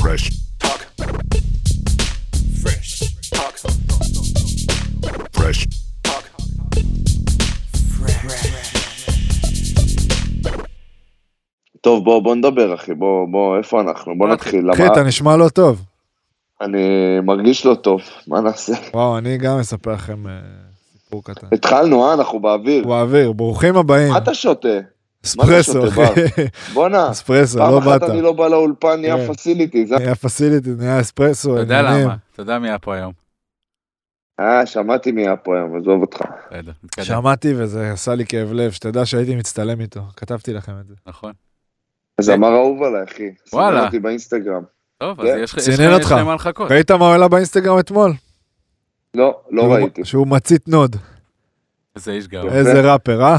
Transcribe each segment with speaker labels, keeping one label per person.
Speaker 1: Fresh talk. Fresh talk. Fresh talk.
Speaker 2: טוב, בוא, בוא נדבר, אחי, בוא, בוא, איפה אנחנו?
Speaker 3: אה,
Speaker 2: בוא נתחיל,
Speaker 3: אחי,
Speaker 2: למה
Speaker 3: אתה נשמע לא טוב.
Speaker 2: אני מרגיש לא טוב, מה נעשה?
Speaker 3: וואו, אני גם אספר לכם אה, סיפור קטן.
Speaker 2: התחלנו, אה? אנחנו באוויר.
Speaker 3: הוא האוויר, ברוכים הבאים.
Speaker 2: מה אתה שותה?
Speaker 3: אספרסו,
Speaker 2: שותה,
Speaker 3: אחי.
Speaker 2: בואנה,
Speaker 3: אספרסו,
Speaker 2: פעם
Speaker 3: לא
Speaker 2: אחת
Speaker 3: באת.
Speaker 2: אני לא בא לאולפן, נהיה
Speaker 3: כן.
Speaker 2: פסיליטי, זה...
Speaker 3: נהיה פסיליטי, נהיה אספרסו,
Speaker 4: אתה יודע
Speaker 3: עניינים.
Speaker 4: למה, אתה יודע מי היה פה היום.
Speaker 2: אה, שמעתי מי היה פה היום, עזוב אותך.
Speaker 4: בסדר, נתקדם.
Speaker 3: שמעתי וזה עשה לי כאב לב, שתדע שהייתי מצטלם איתו, כתבתי לכם את זה.
Speaker 4: נכון.
Speaker 2: זמר אהוב עליי, אחי.
Speaker 4: וואלה.
Speaker 2: סינן אותי באינסטגרם.
Speaker 4: טוב, אז
Speaker 2: כן.
Speaker 4: יש לך יש
Speaker 3: סינן
Speaker 4: לך- יש
Speaker 3: אותך.
Speaker 4: לך מה לחכות.
Speaker 3: ראית מה עלה באינסטגרם אתמול?
Speaker 2: לא, לא
Speaker 3: שהוא-
Speaker 2: ראיתי.
Speaker 3: שהוא מצית נוד.
Speaker 4: איזה איש גאון.
Speaker 2: יפה.
Speaker 3: איזה ראפר, אה?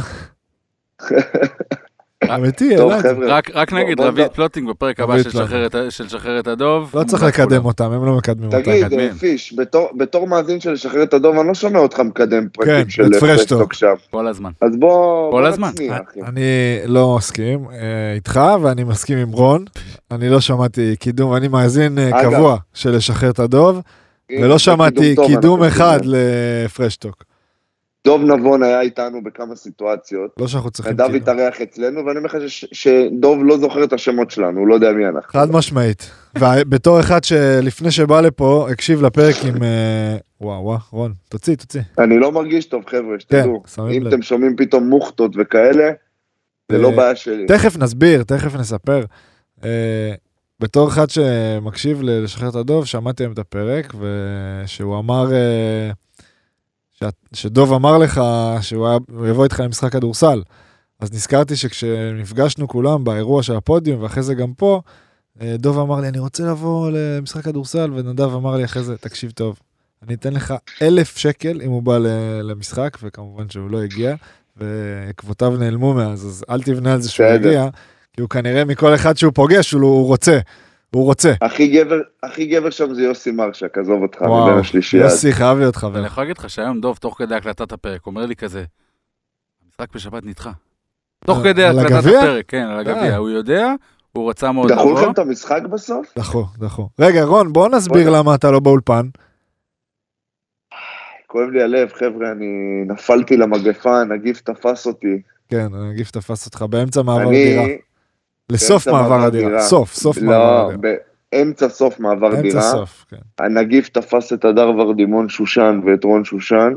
Speaker 3: אמיתי,
Speaker 2: טוב,
Speaker 3: אלעד.
Speaker 2: חבר'ה,
Speaker 4: רק רק
Speaker 2: בוא-
Speaker 4: נגיד
Speaker 2: לא, בוא
Speaker 4: רביד
Speaker 2: נדע.
Speaker 4: פלוטינג בפרק הבא
Speaker 3: רביד
Speaker 4: של
Speaker 3: פלוטינג.
Speaker 4: שחרר את ה- של שחרר את הדוב.
Speaker 3: לא צריך
Speaker 4: מול כולם.
Speaker 3: לקדם אותם, הם לא מקדמים אותם.
Speaker 2: נכון. תגיד,
Speaker 4: מקדמים.
Speaker 2: אה, פיש, בתור- בתור מאזין של לשחרר את הדוב, אני לא שומע אותך מקדם פרקים
Speaker 3: כן,
Speaker 2: של
Speaker 3: את פרשטוק.
Speaker 2: פרשטוק שם.
Speaker 4: כל הזמן.
Speaker 2: אז בוא...
Speaker 4: כל
Speaker 2: בוא
Speaker 4: הזמן.
Speaker 2: נצניע, אחי.
Speaker 3: אני לא מסכים אה, איתך, ואני מסכים עם רון. אני לא שמעתי קידום, אני מאזין אה,
Speaker 2: אגב.
Speaker 3: קבוע של לשחרר את הדוב, ולא
Speaker 2: אם
Speaker 3: שמעתי
Speaker 2: טוב,
Speaker 3: קידום
Speaker 2: אנחנו
Speaker 3: אחד
Speaker 2: עושים.
Speaker 3: לפרשטוק.
Speaker 2: דוב נבון היה איתנו בכמה סיטואציות.
Speaker 3: לא שאנחנו צריכים
Speaker 2: נדב
Speaker 3: קידום.
Speaker 2: התארח אצלנו, ואני אומר לך ש- שדוב לא זוכר את השמות שלנו, הוא לא יודע מי אנחנו.
Speaker 3: חד משמעית. ובתור אחד שלפני שבא לפה, הקשיב לפרק עם... אה, וואו, וואו, רון, תוציא, תוציא.
Speaker 2: אני לא מרגיש טוב, חבר'ה, שתדעו.
Speaker 3: כן, שמים
Speaker 2: אם
Speaker 3: לב.
Speaker 2: אתם שומעים פתאום מוכתות וכאלה, זה
Speaker 3: אה,
Speaker 2: לא בעיה שלי.
Speaker 3: תכף נסביר, תכף נספר. אה, בתור אחד שמקשיב ל- לשחרר את הדוב, שמעתי היום את הפרק, ושהוא אמר, אה, שאת- שדוב אמר לך שהוא היה- הוא יבוא איתך למשחק כדורסל. אז נזכרתי שכשנפגשנו כולם באירוע של הפודיום, ואחרי זה גם פה, אה, דוב אמר לי, אני רוצה לבוא למשחק כדורסל, ונדב אמר לי אחרי זה, תקשיב טוב, אני אתן לך אלף שקל אם הוא בא ל- למשחק, וכמובן שהוא לא הגיע. ועקבותיו נעלמו מאז, אז אל תבנה על זה שהוא
Speaker 2: בסדר.
Speaker 3: יגיע, כי הוא כנראה מכל אחד שהוא פוגש, הוא, לא, הוא רוצה, הוא רוצה.
Speaker 2: הכי גבר, הכי גבר שם זה יוסי מרשק, עזוב אותך,
Speaker 3: וואו,
Speaker 2: מבין השלישייה.
Speaker 3: יוסי חייב להיות חבר.
Speaker 2: נכון.
Speaker 4: ואני יכול להגיד לך שהיום דוב, תוך כדי הקלטת הפרק, אומר לי כזה, המשחק בשבת נדחה. תוך
Speaker 3: על-
Speaker 4: כדי
Speaker 3: אה, על
Speaker 4: הקלטת
Speaker 3: הגביע? אה.
Speaker 4: הפרק, כן, על
Speaker 3: די.
Speaker 4: הגביע. הוא יודע, הוא רצה מאוד
Speaker 2: דחו
Speaker 4: לבוא.
Speaker 2: לכם את המשחק בסוף?
Speaker 3: דחו, דחו. רגע, רון, בוא נסביר
Speaker 2: בוא.
Speaker 3: למה אתה לא באולפן.
Speaker 2: כואב לי הלב, חבר'ה, אני נפלתי למגפה, הנגיף תפס אותי.
Speaker 3: כן, הנגיף תפס אותך באמצע מעבר
Speaker 2: אני...
Speaker 3: דירה. לסוף
Speaker 2: באמצע
Speaker 3: מעבר
Speaker 2: מעבר
Speaker 3: הדירה.
Speaker 2: כן, דירה.
Speaker 3: סוף, סוף מעבר
Speaker 2: לא,
Speaker 3: הדירה.
Speaker 2: באמצע סוף מעבר
Speaker 3: אמצע
Speaker 2: דירה.
Speaker 3: סוף, כן.
Speaker 2: הנגיף תפס את הדר ורדימון שושן ואת רון שושן.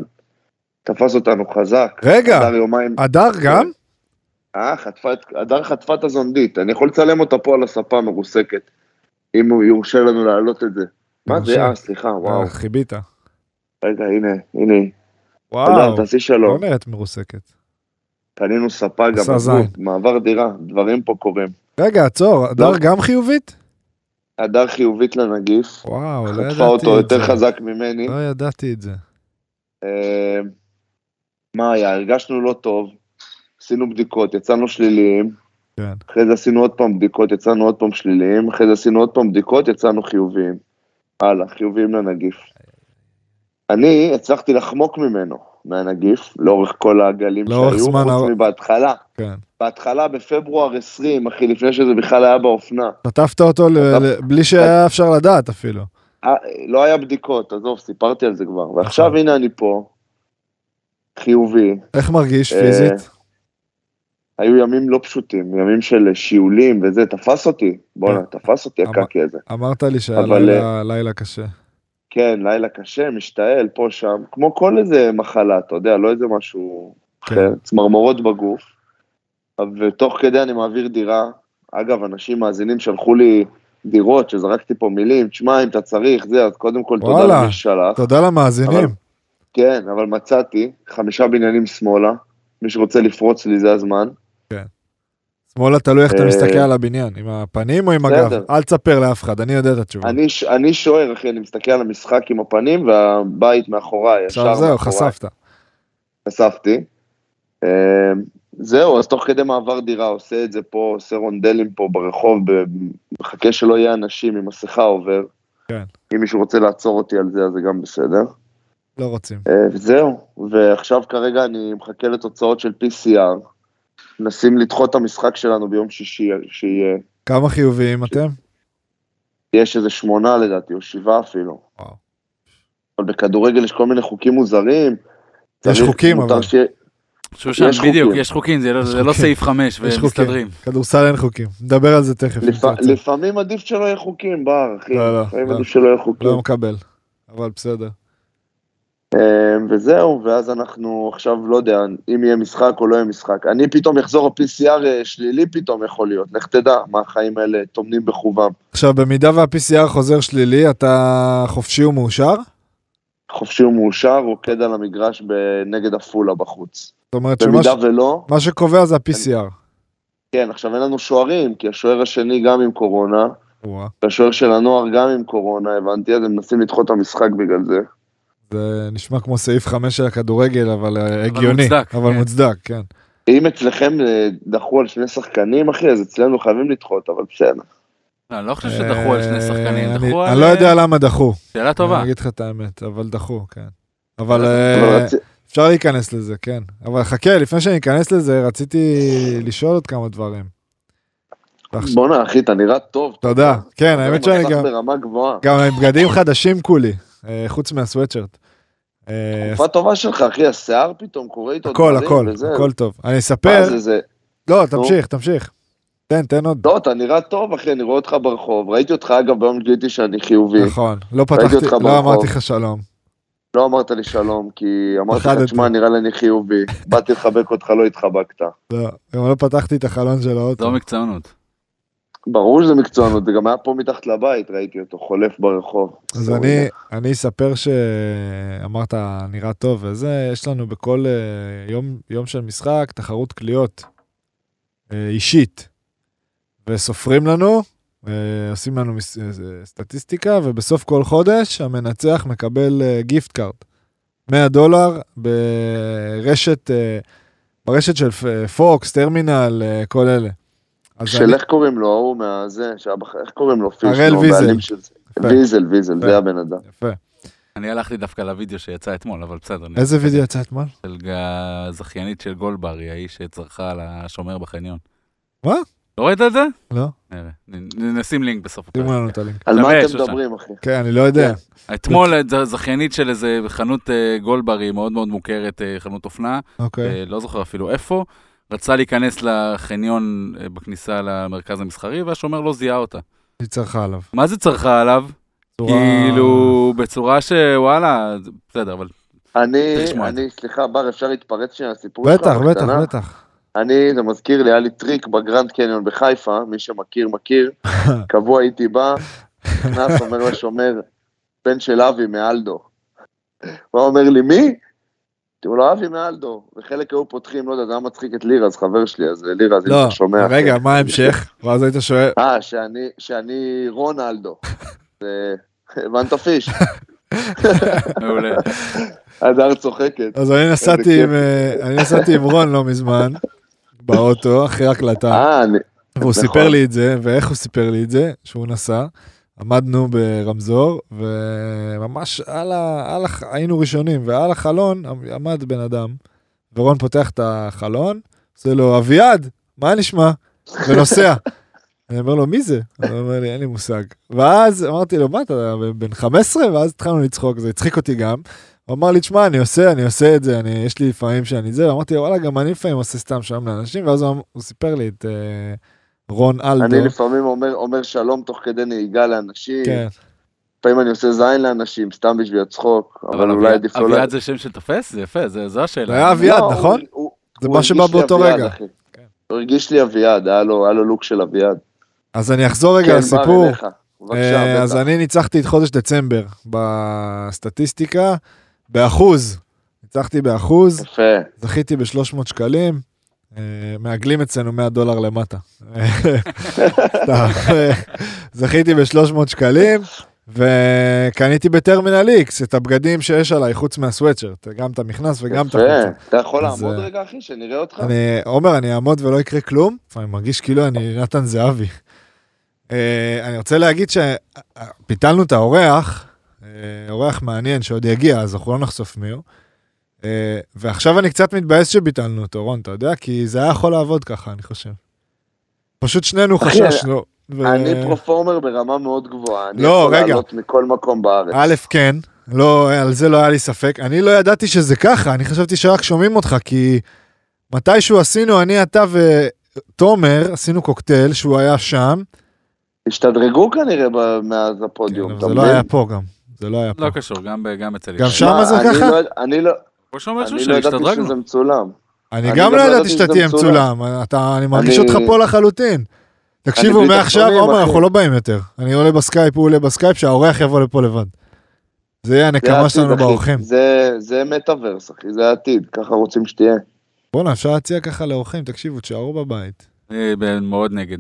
Speaker 2: תפס אותנו חזק.
Speaker 3: רגע,
Speaker 2: הדר יומיים...
Speaker 3: הדר גם?
Speaker 2: אה, חטפה את... הדר חטפה את הזונדית. אני יכול לצלם אותה פה על הספה מרוסקת. אם הוא יורשה לנו להעלות את זה. מה זה?
Speaker 3: יורשה.
Speaker 2: אה, סליחה, וואו.
Speaker 3: אה, חיבית.
Speaker 2: רגע, הנה, הנה. היא.
Speaker 3: וואו,
Speaker 2: הדר, תעשי
Speaker 3: לא
Speaker 2: שלום.
Speaker 3: נראית מרוסקת.
Speaker 2: קנינו ספה גם,
Speaker 3: עשה
Speaker 2: עזבו,
Speaker 3: זין.
Speaker 2: מעבר דירה, דברים פה קורים.
Speaker 3: רגע, עצור, הדר
Speaker 2: לא.
Speaker 3: גם חיובית?
Speaker 2: הדר חיובית לנגיף,
Speaker 3: וואו, לא ידעתי את זה.
Speaker 2: חטפה אותו יותר חזק ממני.
Speaker 3: לא ידעתי את זה.
Speaker 2: אה, מה היה? הרגשנו לא טוב, עשינו בדיקות, יצאנו שליליים.
Speaker 3: כן.
Speaker 2: אחרי זה עשינו עוד פעם בדיקות, יצאנו עוד פעם שליליים. אחרי זה עשינו עוד פעם בדיקות, יצאנו חיוביים. הלאה, חיוביים לנגיף. אני הצלחתי לחמוק ממנו, מהנגיף, לאורך כל הגלים
Speaker 3: לאורך
Speaker 2: שהיו,
Speaker 3: זמן
Speaker 2: חוץ
Speaker 3: ארוך.
Speaker 2: מבהתחלה.
Speaker 3: כן.
Speaker 2: בהתחלה, בפברואר 20, אחי, לפני שזה בכלל היה באופנה.
Speaker 3: חטפת אותו ל- ל- בלי שהיה אפשר לדעת אפילו.
Speaker 2: אה, לא היה בדיקות, עזוב, סיפרתי על זה כבר. ועכשיו
Speaker 3: נכון.
Speaker 2: הנה אני פה, חיובי.
Speaker 3: איך מרגיש
Speaker 2: אה,
Speaker 3: פיזית?
Speaker 2: היו ימים לא פשוטים, ימים של שיעולים וזה, תפס אותי,
Speaker 3: אה,
Speaker 2: בואנה, תפס אותי
Speaker 3: אמר-
Speaker 2: הקקי הזה.
Speaker 3: אמרת לי שהיה
Speaker 2: אבל, אה,
Speaker 3: לילה- לילה קשה.
Speaker 2: כן, לילה קשה, משתעל, פה, שם, כמו כל איזה מחלה, אתה יודע, לא איזה משהו
Speaker 3: כן.
Speaker 2: אחר, צמרמורות בגוף. ותוך כדי אני מעביר דירה. אגב, אנשים מאזינים שלחו לי דירות, שזרקתי פה מילים, תשמע, אם אתה צריך, זה, אז קודם כל תודה
Speaker 3: וואלה.
Speaker 2: למי ששלח.
Speaker 3: תודה למאזינים.
Speaker 2: כן, אבל מצאתי חמישה בניינים שמאלה, מי שרוצה לפרוץ לי זה הזמן.
Speaker 3: אה. שמאלה תלוי איך אתה
Speaker 2: אה,
Speaker 3: מסתכל על הבניין, עם הפנים או עם
Speaker 2: בסדר.
Speaker 3: הגב? אל תספר לאף אחד, אני יודע את התשובה.
Speaker 2: אני, ש- אני שוער, אחי, אני מסתכל על המשחק עם הפנים והבית מאחוריי, ישר
Speaker 3: עכשיו זהו,
Speaker 2: מאחוריי.
Speaker 3: חשפת.
Speaker 2: חשפתי. אה, זהו, אז תוך כדי מעבר דירה, עושה את זה פה, עושה רונדלים פה ברחוב, ב- מחכה שלא יהיה אנשים עם מסכה עובר.
Speaker 3: כן.
Speaker 2: אם מישהו רוצה לעצור אותי על זה, אז זה גם בסדר.
Speaker 3: לא רוצים.
Speaker 2: אה, וזהו, ועכשיו כרגע אני מחכה לתוצאות של PCR. מנסים לדחות את המשחק שלנו ביום שישי, שיהיה
Speaker 3: כמה חיוביים אתם?
Speaker 2: יש איזה שמונה לדעתי, או שבעה אפילו.
Speaker 3: וואו.
Speaker 2: אבל בכדורגל יש כל מיני חוקים מוזרים.
Speaker 3: יש
Speaker 2: צריך-
Speaker 3: חוקים,
Speaker 2: מותר
Speaker 3: אבל.
Speaker 2: שיהיה-
Speaker 4: שושן,
Speaker 2: יש חוקים.
Speaker 4: בדיוק, יש חוקים, זה לא-
Speaker 3: יש
Speaker 4: זה לא
Speaker 3: חוקים.
Speaker 4: סעיף 5,
Speaker 3: יש
Speaker 4: ומסתדרים.
Speaker 3: כדורסל אין חוקים, נדבר על זה תכף. אם
Speaker 2: לפ-
Speaker 3: תרצה.
Speaker 2: לפעמים עדיף שלא יהיה חוקים, בר, אחי.
Speaker 3: לא, לא,
Speaker 2: לפעמים
Speaker 3: לא.
Speaker 2: עדיף שלא יהיה חוקים.
Speaker 3: לא מקבל, אבל בסדר.
Speaker 2: אמ, וזהו, ואז אנחנו עכשיו, לא יודע, אם יהיה משחק או לא יהיה משחק. אני פתאום אחזור, ה-PCR אה, שלילי פתאום יכול להיות, לך תדע מה החיים האלה טומנים בחובם.
Speaker 3: עכשיו, במידה וה-PCR חוזר שלילי, אתה חופשי ומאושר?
Speaker 2: חופשי ומאושר, רוקד על המגרש ב- נגד עפולה בחוץ.
Speaker 3: זאת אומרת שמה
Speaker 2: במידה
Speaker 3: ש-
Speaker 2: ולא,
Speaker 3: מה שקובע זה ה-PCR.
Speaker 2: כן, עכשיו אין לנו שוערים, כי השוער השני גם עם קורונה,
Speaker 3: וואו,
Speaker 2: והשוער של הנוער גם עם קורונה, הבנתי, אז הם מנסים לדחות את המשחק בגלל זה.
Speaker 3: זה נשמע כמו סעיף 5 של הכדורגל, אבל אה, הגיוני.
Speaker 4: מוצדק,
Speaker 3: אבל
Speaker 4: כן.
Speaker 3: מוצדק, כן.
Speaker 2: אם אצלכם אה, דחו על שני שחקנים, אחי, אז אצלנו חייבים לדחות, אבל בסדר.
Speaker 4: לא, אני לא חושב שדחו על שני שחקנים,
Speaker 3: אה, אני-
Speaker 4: דחו על...
Speaker 3: אני לא יודע למה דחו.
Speaker 4: שאלה טובה.
Speaker 3: אני אגיד לך את האמת, אבל דחו, כן. אבל
Speaker 2: אבל
Speaker 3: אה,
Speaker 2: רצ-
Speaker 3: אפשר להיכנס לזה, כן. אבל חכה, לפני שאני אכנס לזה, רציתי לשאול עוד כמה דברים. ועכשיו-
Speaker 2: בואנה, אחי, אתה נראה טוב.
Speaker 3: תודה. כן, האמת שאני
Speaker 2: אתה
Speaker 3: גם... כן,
Speaker 2: מצליח ברמה גבוהה.
Speaker 3: גם עם בגדים חדשים כולי, אה, חוץ מהסוואטשרט. אה,
Speaker 2: תקופה טובה שלך, אחי, השיער פתאום קורא איתו
Speaker 3: הכל,
Speaker 2: דברים.
Speaker 3: הכל,
Speaker 2: וזה.
Speaker 3: הכל טוב. אני
Speaker 2: מה
Speaker 3: אספר,
Speaker 2: זה, זה?
Speaker 3: לא,
Speaker 2: נו.
Speaker 3: תמשיך, תמשיך. תן, תן עוד.
Speaker 2: לא, אתה נראה טוב, אחי, אני רואה אותך ברחוב. ראיתי אותך, אגב, ביום שגיליתי שאני חיובי.
Speaker 3: נכון, לא
Speaker 2: ראיתי
Speaker 3: פתחתי,
Speaker 2: אותך
Speaker 3: לא
Speaker 2: ברחוב.
Speaker 3: אמרתי לך שלום.
Speaker 2: לא אמרת לי שלום, כי אמרתי לך,
Speaker 3: פחדת.
Speaker 2: תשמע, נראה לי אני חיובי. באתי לחבק אותך, לא התחבקת.
Speaker 3: לא, גם לא פתחתי את החלון של
Speaker 4: זו
Speaker 3: האוטו.
Speaker 4: מקצוענות.
Speaker 2: ברור שזה מקצוענות, זה גם היה פה מתחת לבית, ראיתי אותו חולף ברחוב.
Speaker 3: אז אני, אני אספר שאמרת נראה טוב וזה, יש לנו בכל אה, יום, יום של משחק תחרות קליעות אה, אישית. וסופרים לנו, אה, עושים לנו מס, אה, אה, סטטיסטיקה, ובסוף כל חודש המנצח מקבל אה, גיפט קארד. 100 דולר ברשת, אה, ברשת של פ- פוקס, טרמינל, אה, כל אלה. אז
Speaker 2: של
Speaker 3: אני-
Speaker 2: איך קוראים לו, ההוא מהזה, שהיה בח... איך קוראים לו? פיש,
Speaker 3: הראל
Speaker 2: נו,
Speaker 3: ויזל.
Speaker 2: הבעלים של זה.
Speaker 3: יפה.
Speaker 2: ויזל, ויזל,
Speaker 3: יפה.
Speaker 2: זה הבן אדם.
Speaker 3: יפה.
Speaker 4: אני הלכתי דווקא לוידאו שיצא אתמול, אבל בסדר. אני-
Speaker 3: איזה וידאו יצא אתמול?
Speaker 4: של ג- הזכיינית של גולדבר, היא האיש שצרחה על השומר בחניון.
Speaker 3: מה?
Speaker 4: לא ראית את זה?
Speaker 3: לא.
Speaker 4: נראה. נ- נ- נשים לינק בסוף
Speaker 3: שימו
Speaker 4: הפרק.
Speaker 3: לנו את הלינק.
Speaker 2: על מה
Speaker 4: שווה,
Speaker 2: אתם
Speaker 4: שושן.
Speaker 2: מדברים, אחי?
Speaker 3: כן, אני לא יודע.
Speaker 4: אתמול הז- זכיינית של איזה חנות אה, גולדבר, היא מאוד מאוד מוכרת, אה, חנות אופנה,
Speaker 3: אוקיי.
Speaker 4: אה, לא זוכר אפילו איפה, רצה להיכנס לחניון אה, בכניסה למרכז המסחרי, והשומר לא זיהה אותה.
Speaker 3: היא צרחה עליו.
Speaker 4: מה זה צרחה עליו?
Speaker 3: צורה-
Speaker 4: כאילו, בצורה שוואלה, זה- בסדר, אבל
Speaker 2: אני,
Speaker 4: צריך לשמוע את
Speaker 2: אני, סליחה, בר, אפשר להתפרץ שנייה לסיפור שלך?
Speaker 3: בטח, בטח,
Speaker 2: בקטנה?
Speaker 3: בטח.
Speaker 2: אני, זה מזכיר לי, היה לי טריק בגרנד קניון בחיפה, מי שמכיר, מכיר. קבוע הייתי בא, נכנס, אומר לשומר, בן של אבי מאלדו. הוא אומר לי, מי? אמרתי לו, אבי מאלדו. וחלק היו פותחים, לא יודע, זה היה מצחיק את לירז, חבר שלי, אז לירז, אם
Speaker 3: לא,
Speaker 2: אתה שומע. כן.
Speaker 3: רגע, מה ההמשך? ואז היית שואל,
Speaker 2: אה, שאני, שאני רונלדו. זה- הבנת פיש?
Speaker 4: מעולה.
Speaker 2: הדר צוחקת.
Speaker 3: אז אני נסעתי
Speaker 2: כיף.
Speaker 3: עם, אה, אני נסעתי עם רון לא מזמן, באוטו, אחרי הקלטה,
Speaker 2: אה, אני...
Speaker 3: והוא
Speaker 2: נכון.
Speaker 3: סיפר לי את זה, ואיך הוא סיפר לי את זה? שהוא נסע, עמדנו ברמזור, וממש על ה... על הח- היינו ראשונים, ועל החלון עמד בן אדם, ורון פותח את החלון, עושה לו, אביעד, מה נשמע? ונוסע. אני אומר לו, מי זה? אז הוא אומר לי, אין לי מושג. ואז אמרתי לו, מה, אתה בן 15? ואז התחלנו לצחוק, זה הצחיק אותי גם. הוא אמר לי, תשמע, אני עושה, אני עושה את זה, אני, יש לי לפעמים שאני זה, ואמרתי לו, וואלה, גם אני לפעמים עושה סתם שלום לאנשים, ואז הוא אמר- הוא סיפר לי את אה, רון אלדו.
Speaker 2: אני לפעמים אומר, אומר שלום תוך כדי נהיגה לאנשים,
Speaker 3: כן,
Speaker 2: לפעמים אני עושה זין לאנשים, סתם בשביל הצחוק, אבל,
Speaker 4: אבל
Speaker 2: אולי
Speaker 4: אביעד-
Speaker 2: עדיף לא...
Speaker 4: אביעד זה שם שתופס? זה יפה, זה- זו השאלה.
Speaker 3: זה היה אביעד,
Speaker 2: הוא-
Speaker 3: נכון?
Speaker 2: הוא-
Speaker 3: זה
Speaker 2: הוא
Speaker 3: מה
Speaker 2: הרגיש
Speaker 3: שבא
Speaker 2: לי
Speaker 3: באותו
Speaker 2: אביעד,
Speaker 3: רגע.
Speaker 2: אחי.
Speaker 4: כן.
Speaker 2: הוא הרגיש לי אביעד, היה לו, היה לו לוק של אביעד.
Speaker 3: אז אני אחזור רגע
Speaker 2: כן, בר,
Speaker 3: לסיפור.
Speaker 2: אליך. בבקשה,
Speaker 3: אה,
Speaker 2: בטח.
Speaker 3: אז אני ניצחתי את חודש דצמבר בסטטיסטיקה, באחוז. ניצחתי באחוז,
Speaker 2: יפה.
Speaker 3: זכיתי ב-300 שקלים, אה, מעגלים אצלנו 100 דולר למטה. סתם, אה, זכיתי ב-300 שקלים, וקניתי בטרמינל איקס את הבגדים שיש עליי, חוץ מהסוואטשרט, גם את המכנס וגם את החוצה.
Speaker 2: יפה. אתה יכול
Speaker 3: אז,
Speaker 2: לעמוד
Speaker 3: אה,
Speaker 2: רגע, אחי, שנראה אותך?
Speaker 3: אני, עומר, אני אעמוד ולא יקרה כלום? אני מרגיש כאילו אני נתן זהבי. אה, אני רוצה להגיד שפיתלנו את האורח, אה, אורח מעניין שעוד יגיע, אז אנחנו לא נחשוף מי הוא. אה, ועכשיו אני קצת מתבאס שביטלנו אותו, רון, אתה יודע? כי זה היה יכול לעבוד ככה, אני חושב. פשוט שנינו
Speaker 2: אחי,
Speaker 3: חששנו. ו-
Speaker 2: אני פרפורמר ברמה מאוד גבוהה. אני
Speaker 3: אה, לא,
Speaker 2: יכול
Speaker 3: רגע.
Speaker 2: לעלות מכל מקום בארץ.
Speaker 3: א', כן, לא, על זה לא היה לי ספק. אני לא ידעתי שזה ככה, אני חשבתי שרק שומעים אותך, כי מתישהו עשינו, אני, אתה ותומר, עשינו קוקטייל שהוא היה שם,
Speaker 2: השתדרגו כנראה ב- מאז הפודיום,
Speaker 3: כן, אבל
Speaker 2: אתה
Speaker 3: זה לא
Speaker 2: מבין?
Speaker 3: היה פה גם. זה לא היה פה.
Speaker 4: לא קשור, גם ב- גם אצל
Speaker 3: גם
Speaker 4: ישי.
Speaker 3: שם
Speaker 2: מה,
Speaker 3: זה
Speaker 2: אני
Speaker 3: ככה?
Speaker 2: לא- אני לא
Speaker 4: כמו שאומר
Speaker 2: אני
Speaker 4: שושי,
Speaker 2: לא ידעתי
Speaker 4: השתדרגנו.
Speaker 2: שזה מצולם.
Speaker 3: אני
Speaker 2: אני
Speaker 3: גם
Speaker 2: גם
Speaker 3: לא
Speaker 2: לא
Speaker 3: ידעתי
Speaker 2: ידעתי
Speaker 3: שאתה
Speaker 2: שזה
Speaker 3: תהיה
Speaker 2: מצולם.
Speaker 3: מצולם, אתה- אני מרגיש
Speaker 2: אני-
Speaker 3: אותך פה לחלוטין. תקשיבו,
Speaker 2: בלי
Speaker 3: מעכשיו,
Speaker 2: תחתונים,
Speaker 3: עומר,
Speaker 2: אחי.
Speaker 3: אנחנו לא באים יותר. אני עולה בסקייפ, הוא עולה בסקייפ, שהאורח יבוא לפה לבד. זה יהיה
Speaker 2: זה
Speaker 3: הנקמה
Speaker 2: העתיד,
Speaker 3: שלנו
Speaker 2: אחי.
Speaker 3: באורחים.
Speaker 2: זה- זה מטאוורס, אחי, זה העתיד, ככה רוצים שתהיה.
Speaker 3: בואנה, אפשר להציע ככה לאורחים, תקשיבו, תשארו בבית.
Speaker 4: אני ב- מאוד נגד.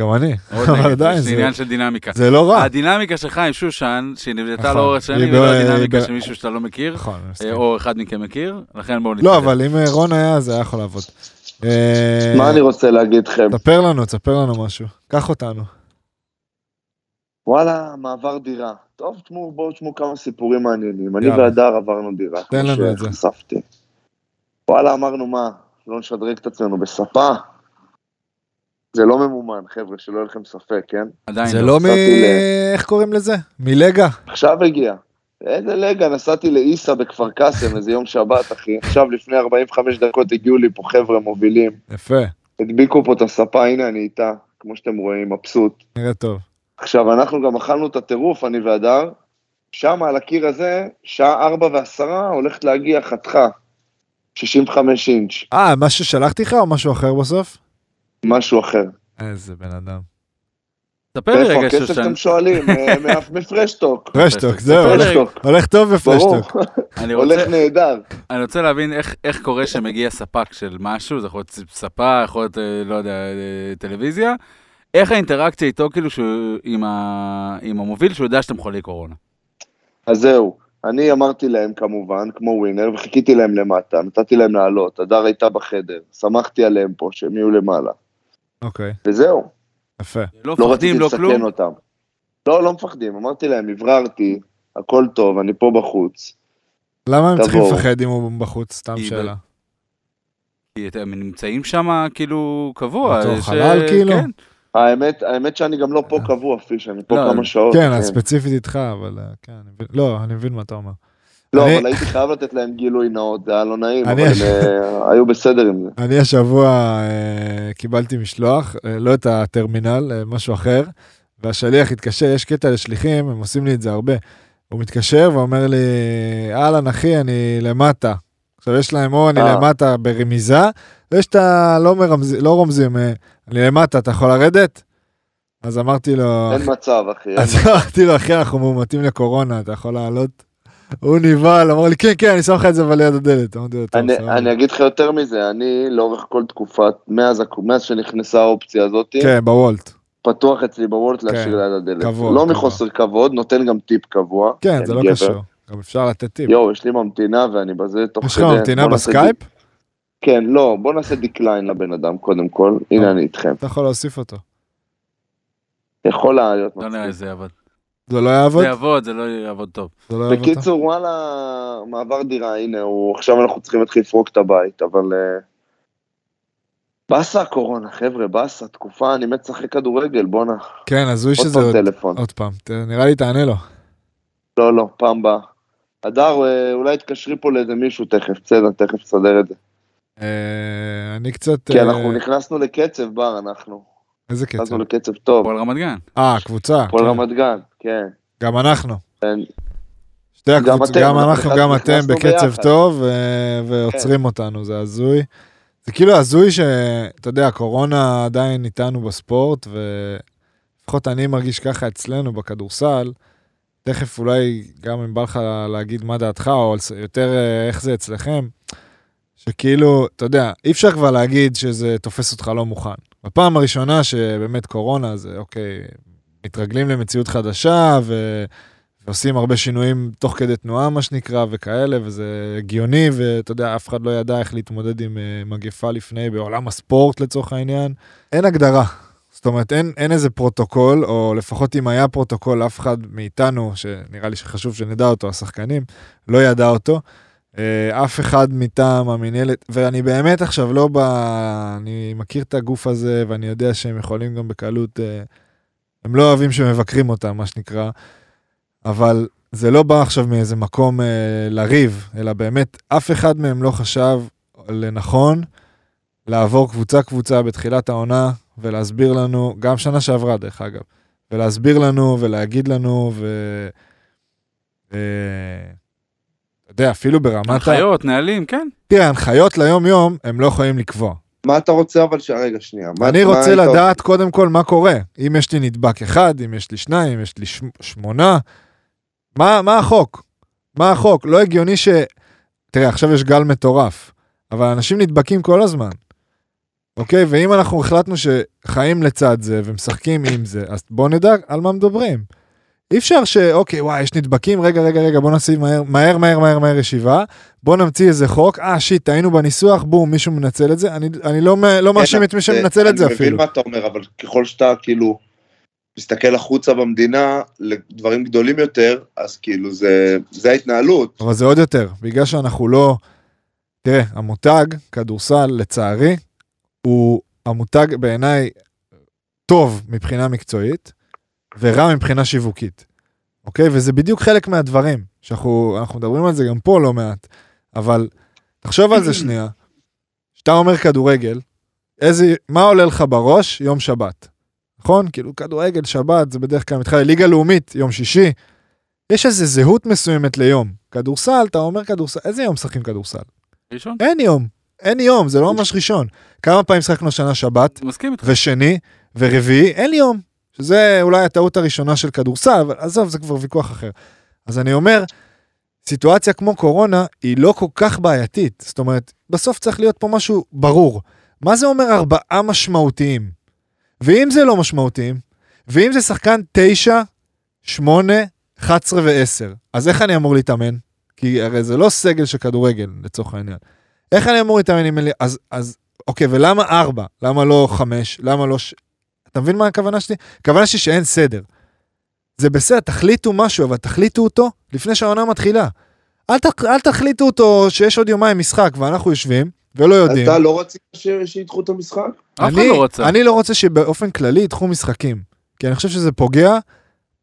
Speaker 3: גם אני,
Speaker 4: מאוד
Speaker 3: אבל
Speaker 4: נגד.
Speaker 3: עדיין,
Speaker 4: זה
Speaker 3: זה-
Speaker 4: עניין של דינמיקה.
Speaker 3: זה לא רע.
Speaker 4: הדינמיקה שלך עם שושן, שנבנתה
Speaker 3: נכון.
Speaker 4: לאורך
Speaker 3: היא
Speaker 4: שנים, ולא
Speaker 3: ב-
Speaker 4: הדינמיקה
Speaker 3: היא ב-
Speaker 4: של מישהו שאתה לא מכיר,
Speaker 3: נכון, אני מסכים.
Speaker 4: אה, או אחד מכם מכיר, לכן בואו
Speaker 3: לא, אבל אם אה, רון היה, זה היה יכול לעבוד. אה,
Speaker 2: מה אני רוצה להגיד לכם?
Speaker 3: תספר לנו, תספר לנו משהו. קח אותנו.
Speaker 2: וואלה, מעבר דירה. טוב, תשמעו, בואו תשמעו כמה סיפורים מעניינים. אני
Speaker 3: יאללה.
Speaker 2: והדר עברנו דירה.
Speaker 3: תן
Speaker 2: כמו
Speaker 3: לנו את זה.
Speaker 2: שחשפתי. וואלה, אמרנו, מה, לא נשדרג את עצמנו בספה? זה לא ממומן, חבר'ה, שלא יהיה לכם ספק, כן?
Speaker 4: עדיין
Speaker 3: זה לא מ...
Speaker 2: שמתי
Speaker 3: איך קוראים לזה? מלגה.
Speaker 2: עכשיו הגיע. איזה לגה, נסעתי לאיסה בכפר קאסם איזה יום שבת, אחי. עכשיו, לפני 45 דקות הגיעו לי פה חבר'ה מובילים.
Speaker 3: יפה,
Speaker 2: הדביקו פה את הספה, הנה אני איתה, כמו שאתם רואים, מבסוט.
Speaker 3: נראה טוב.
Speaker 2: עכשיו, אנחנו גם אכלנו את הטירוף, אני והדר. שם, על הקיר הזה, שעה ארבע ועשרה הולכת להגיע חתיכה. 65 אינץ',
Speaker 3: אה, מה ששלחתי לך או משהו אחר בסוף?
Speaker 2: משהו אחר.
Speaker 3: איזה בן אדם.
Speaker 4: ספר לי
Speaker 2: ואיפה
Speaker 4: רגע,
Speaker 2: הכסף
Speaker 4: שושן.
Speaker 2: אתם שואלים? אה, מאף- מפרשטוק.
Speaker 3: פרשטוק, זהו,
Speaker 4: ספר לי.
Speaker 3: הולך-
Speaker 2: מפרשטוק,
Speaker 3: הולך טוב
Speaker 2: ברור.
Speaker 3: בפרשטוק.
Speaker 4: אני רוצה-
Speaker 2: הולך נהדר.
Speaker 4: אני רוצה להבין איך- איך קורה שמגיע ספק של משהו, זה יכול להיות ספה, יכול להיות, אה, לא יודע, אה, טלוויזיה. איך האינטראקציה איתו, כאילו, שהוא- עם ה- עם המוביל, שהוא יודע שאתם חולי קורונה.
Speaker 2: אז זהו, אני אמרתי להם כמובן, כמו ווינר, וחיכיתי להם למטה, נתתי להם לעלות, הדר הייתה בחדר, שמחתי עליהם פה, שהם יהיו למעלה.
Speaker 3: אוקיי,
Speaker 2: וזהו,
Speaker 3: יפה.
Speaker 4: לא
Speaker 2: לא
Speaker 4: מפחדים,
Speaker 2: רציתי
Speaker 4: לא
Speaker 2: לסכן
Speaker 4: כלום.
Speaker 2: אותם. לא, לא מפחדים, אמרתי להם, הבררתי, הכל טוב, אני פה בחוץ.
Speaker 3: למה הם צריכים
Speaker 2: תבואו.
Speaker 3: לפחד אם הוא בחוץ? סתם
Speaker 4: כי ב-
Speaker 3: שאלה.
Speaker 4: כי אתם נמצאים שם, כאילו, קבוע.
Speaker 3: בתור
Speaker 4: יש,
Speaker 3: חלל,
Speaker 4: אה,
Speaker 3: כאילו?
Speaker 4: כן.
Speaker 2: האמת, האמת שאני גם לא פה קבוע, פיש, אני פה
Speaker 4: לא,
Speaker 2: כמה שעות.
Speaker 3: כן, אז ספציפית איתך, אבל אה, כן, אני מבין- לא, אני מבין מה אתה אומר.
Speaker 2: לא,
Speaker 3: אני-
Speaker 2: אבל הייתי חייב לתת להם גילוי נאות, זה היה לא נעים,
Speaker 3: אני-
Speaker 2: אבל הם אה, היו בסדר עם זה.
Speaker 3: אני השבוע אה, קיבלתי משלוח, אה, לא את הטרמינל, אה, משהו אחר, והשליח התקשר, יש קטע לשליחים, הם עושים לי את זה הרבה. הוא מתקשר ואומר לי, אהלן אחי, אני למטה. עכשיו יש להם או אני
Speaker 2: אה.
Speaker 3: למטה ברמיזה, ויש את ה... לא, מרמז... לא רומזים, אה, אני למטה, אתה יכול לרדת? אז אמרתי לו,
Speaker 2: אין מצב, אחי. אין
Speaker 3: אה. אז אמרתי לו, אחי, אנחנו מאומתים לקורונה, אתה יכול לעלות? הוא נבהל, אמר לי, כן, כן, אני שם לך את זה אבל ליד הדלת. אמרתי לו, טוב,
Speaker 2: אני,
Speaker 3: סבבה.
Speaker 2: אני אגיד לך יותר מזה, אני לאורך כל תקופת, מאז, הכ- מאז שנכנסה האופציה הזאת, כן.
Speaker 3: כן, בוולט.
Speaker 2: פתוח אצלי בוולט
Speaker 3: כן,
Speaker 2: להשאיר ליד הדלת.
Speaker 3: קבוע,
Speaker 2: לא
Speaker 3: קבוע.
Speaker 2: מחוסר כבוד, נותן גם טיפ קבוע.
Speaker 3: כן,
Speaker 2: אני
Speaker 3: זה לא
Speaker 2: גבר.
Speaker 3: קשור. גם אפשר לתת טיפ.
Speaker 2: יואו, יש לי ממתינה ואני בזה תוך
Speaker 3: יש לך
Speaker 2: כדי.
Speaker 3: ממתינה
Speaker 2: בוא נעשה
Speaker 3: בסקייפ?
Speaker 2: די- כן, לא, בוא נעשה דקליין לבן אדם קודם כל,
Speaker 3: אה.
Speaker 2: הנה אני איתכם.
Speaker 3: אתה יכול להוסיף אותו.
Speaker 2: יכול היה להיות
Speaker 4: לא נראה לי
Speaker 2: מצחיק.
Speaker 4: שזה יעבוד.
Speaker 3: זה לא יעבוד?
Speaker 4: זה יעבוד, זה לא יעבוד טוב.
Speaker 3: זה לא יעבוד.
Speaker 2: בקיצור, וואלה, מעבר דירה, הנה, הוא, עכשיו אנחנו צריכים להתחיל לפרוק את הבית, אבל... אה, באסה הקורונה, חבר'ה, באסה, תקופה, אני מת לשחק כדורגל, בואנה.
Speaker 3: כן, הזוי
Speaker 2: עוד
Speaker 3: שזה
Speaker 2: פעם
Speaker 3: עוד...
Speaker 2: טלפון.
Speaker 3: עוד פעם, ת- נראה לי תענה לו.
Speaker 2: לא, לא, פעם באה. הדר, אה, אולי תתקשרי פה לאיזה מישהו תכף, בסדר, תכף נסדר את זה.
Speaker 3: אה, אני קצת...
Speaker 2: כי
Speaker 3: אה,
Speaker 2: כן, אנחנו נכנסנו לקצב בר, אנחנו.
Speaker 3: איזה קצב?
Speaker 2: נכנסנו לקצב טוב.
Speaker 4: הפועל רמת גן.
Speaker 3: אה, קבוצה.
Speaker 2: הפועל
Speaker 3: כן.
Speaker 2: רמת גן, כן.
Speaker 3: גם אנחנו.
Speaker 2: כן.
Speaker 3: שתי
Speaker 2: גם
Speaker 3: הקבוצות,
Speaker 2: אתם,
Speaker 3: גם
Speaker 2: אנחנו
Speaker 3: אנחנו,
Speaker 2: נכנס-
Speaker 3: גם אתם
Speaker 2: נכנסנו
Speaker 3: בקצב
Speaker 2: ביחד.
Speaker 3: טוב, אה, ועוצרים אותנו, זה הזוי. זה כאילו הזוי שאתה יודע, הקורונה עדיין איתנו בספורט, ולפחות אני מרגיש ככה אצלנו בכדורסל. תכף אולי גם אם בא לך להגיד מה דעתך, או על ס- יותר אה, איך זה אצלכם, שכאילו, אתה יודע, אי אפשר כבר להגיד שזה תופס אותך לא מוכן. בפעם הראשונה שבאמת קורונה, זה אוקיי, מתרגלים למציאות חדשה, ו... ועושים הרבה שינויים תוך כדי תנועה, מה שנקרא, וכאלה, וזה הגיוני, ואתה יודע, אף אחד לא ידע איך להתמודד עם אה, מגפה לפני בעולם הספורט, לצורך העניין. אין הגדרה. זאת אומרת, אין, אין איזה פרוטוקול, או לפחות אם היה פרוטוקול, אף אחד מאיתנו, שנראה לי שחשוב שנדע אותו, השחקנים, לא ידע אותו. אה, אף אחד מטעם המינהלת, ואני באמת עכשיו לא ב... אני מכיר את הגוף הזה, ואני יודע שהם יכולים גם בקלות אה, הם לא אוהבים שמבקרים אותם, מה שנקרא, אבל זה לא בא עכשיו מאיזה מקום אה, לריב, אלא באמת אף אחד מהם לא חשב לנכון לעבור קבוצה-קבוצה בתחילת העונה ולהסביר לנו, גם שנה שעברה דרך אגב, ולהסביר לנו ולהגיד לנו, ו... אה, אתה יודע, אפילו ברמת... ה-
Speaker 4: הנחיות, נהלים, כן.
Speaker 3: תראה, הנחיות ליום-יום הם לא יכולים לקבוע.
Speaker 2: מה אתה רוצה אבל ש... רגע, שנייה. מה-
Speaker 3: אני
Speaker 2: מה
Speaker 3: רוצה
Speaker 2: היית-
Speaker 3: לדעת קודם כל מה קורה. אם יש לי נדבק אחד, אם יש לי שניים, אם יש לי שמ- שמונה, מה, מה החוק? מה החוק? לא הגיוני ש... תראה, עכשיו יש גל מטורף, אבל אנשים נדבקים כל הזמן. אוקיי? ואם אנחנו החלטנו שחיים לצד זה ומשחקים עם זה, אז בואו נדע על מה מדברים. אי אפשר שאוקיי, וואי, יש נדבקים, רגע, רגע, רגע, בוא נעשה מהר, מהר, מהר, מהר, מהר ישיבה, בוא נמציא איזה חוק, אה, שיט, טעינו בניסוח, בום, מישהו מנצל את זה, אני, אני לא, מ- לא מאשים את מי שמנצל את זה
Speaker 2: אה, אני מבין
Speaker 3: אפילו.
Speaker 2: מה אתה אומר, אבל ככל שאתה כאילו מסתכל החוצה במדינה לדברים גדולים יותר, אז כאילו זה, זה ההתנהלות.
Speaker 3: אבל זה עוד יותר, בגלל שאנחנו לא... תראה, המותג, כדורסל, לצערי, הוא המותג בעיניי טוב מבחינה מקצועית, ורע מבחינה שיווקית, אוקיי? וזה בדיוק חלק מהדברים, שאנחנו אנחנו מדברים על זה גם פה לא מעט, אבל תחשוב על זה שנייה. כשאתה אומר כדורגל, איזה, מה עולה לך בראש? יום שבת. נכון? כאילו כדורגל, שבת, זה בדרך כלל מתחיל ליגה לאומית, יום שישי. יש איזו זהות מסוימת ליום. כדורסל, אתה אומר כדורסל, איזה יום משחקים כדורסל?
Speaker 4: ראשון?
Speaker 3: אין יום, אין יום, זה לא ממש ראשון. כמה פעמים שחקנו שנה שבת,
Speaker 4: מסכים איתך.
Speaker 3: ושני, ורביעי, אין יום. שזה אולי הטעות הראשונה של כדורסל, אבל עזוב, זה כבר ויכוח אחר. אז אני אומר, סיטואציה כמו קורונה היא לא כל כך בעייתית. זאת אומרת, בסוף צריך להיות פה משהו ברור. מה זה אומר ארבעה משמעותיים? ואם זה לא משמעותיים, ואם זה שחקן תשע, שמונה, 11 ו-10, אז איך אני אמור להתאמן? כי הרי זה לא סגל של כדורגל, לצורך העניין. איך אני אמור להתאמן אם אין לי... אז, אז אוקיי, ולמה 4? למה לא 5? למה לא... ש... אתה מבין מה הכוונה שלי? הכוונה שלי שאין סדר. זה בסדר, תחליטו משהו, אבל תחליטו אותו לפני שהעונה מתחילה. אל, ת, אל תחליטו אותו שיש עוד יומיים משחק ואנחנו יושבים ולא
Speaker 2: אז
Speaker 3: יודעים.
Speaker 2: אתה לא רצית ש- שידחו את המשחק?
Speaker 4: אף אחד
Speaker 3: אני-
Speaker 4: לא רוצה.
Speaker 3: אני לא רוצה שבאופן כללי ידחו משחקים, כי אני חושב שזה פוגע.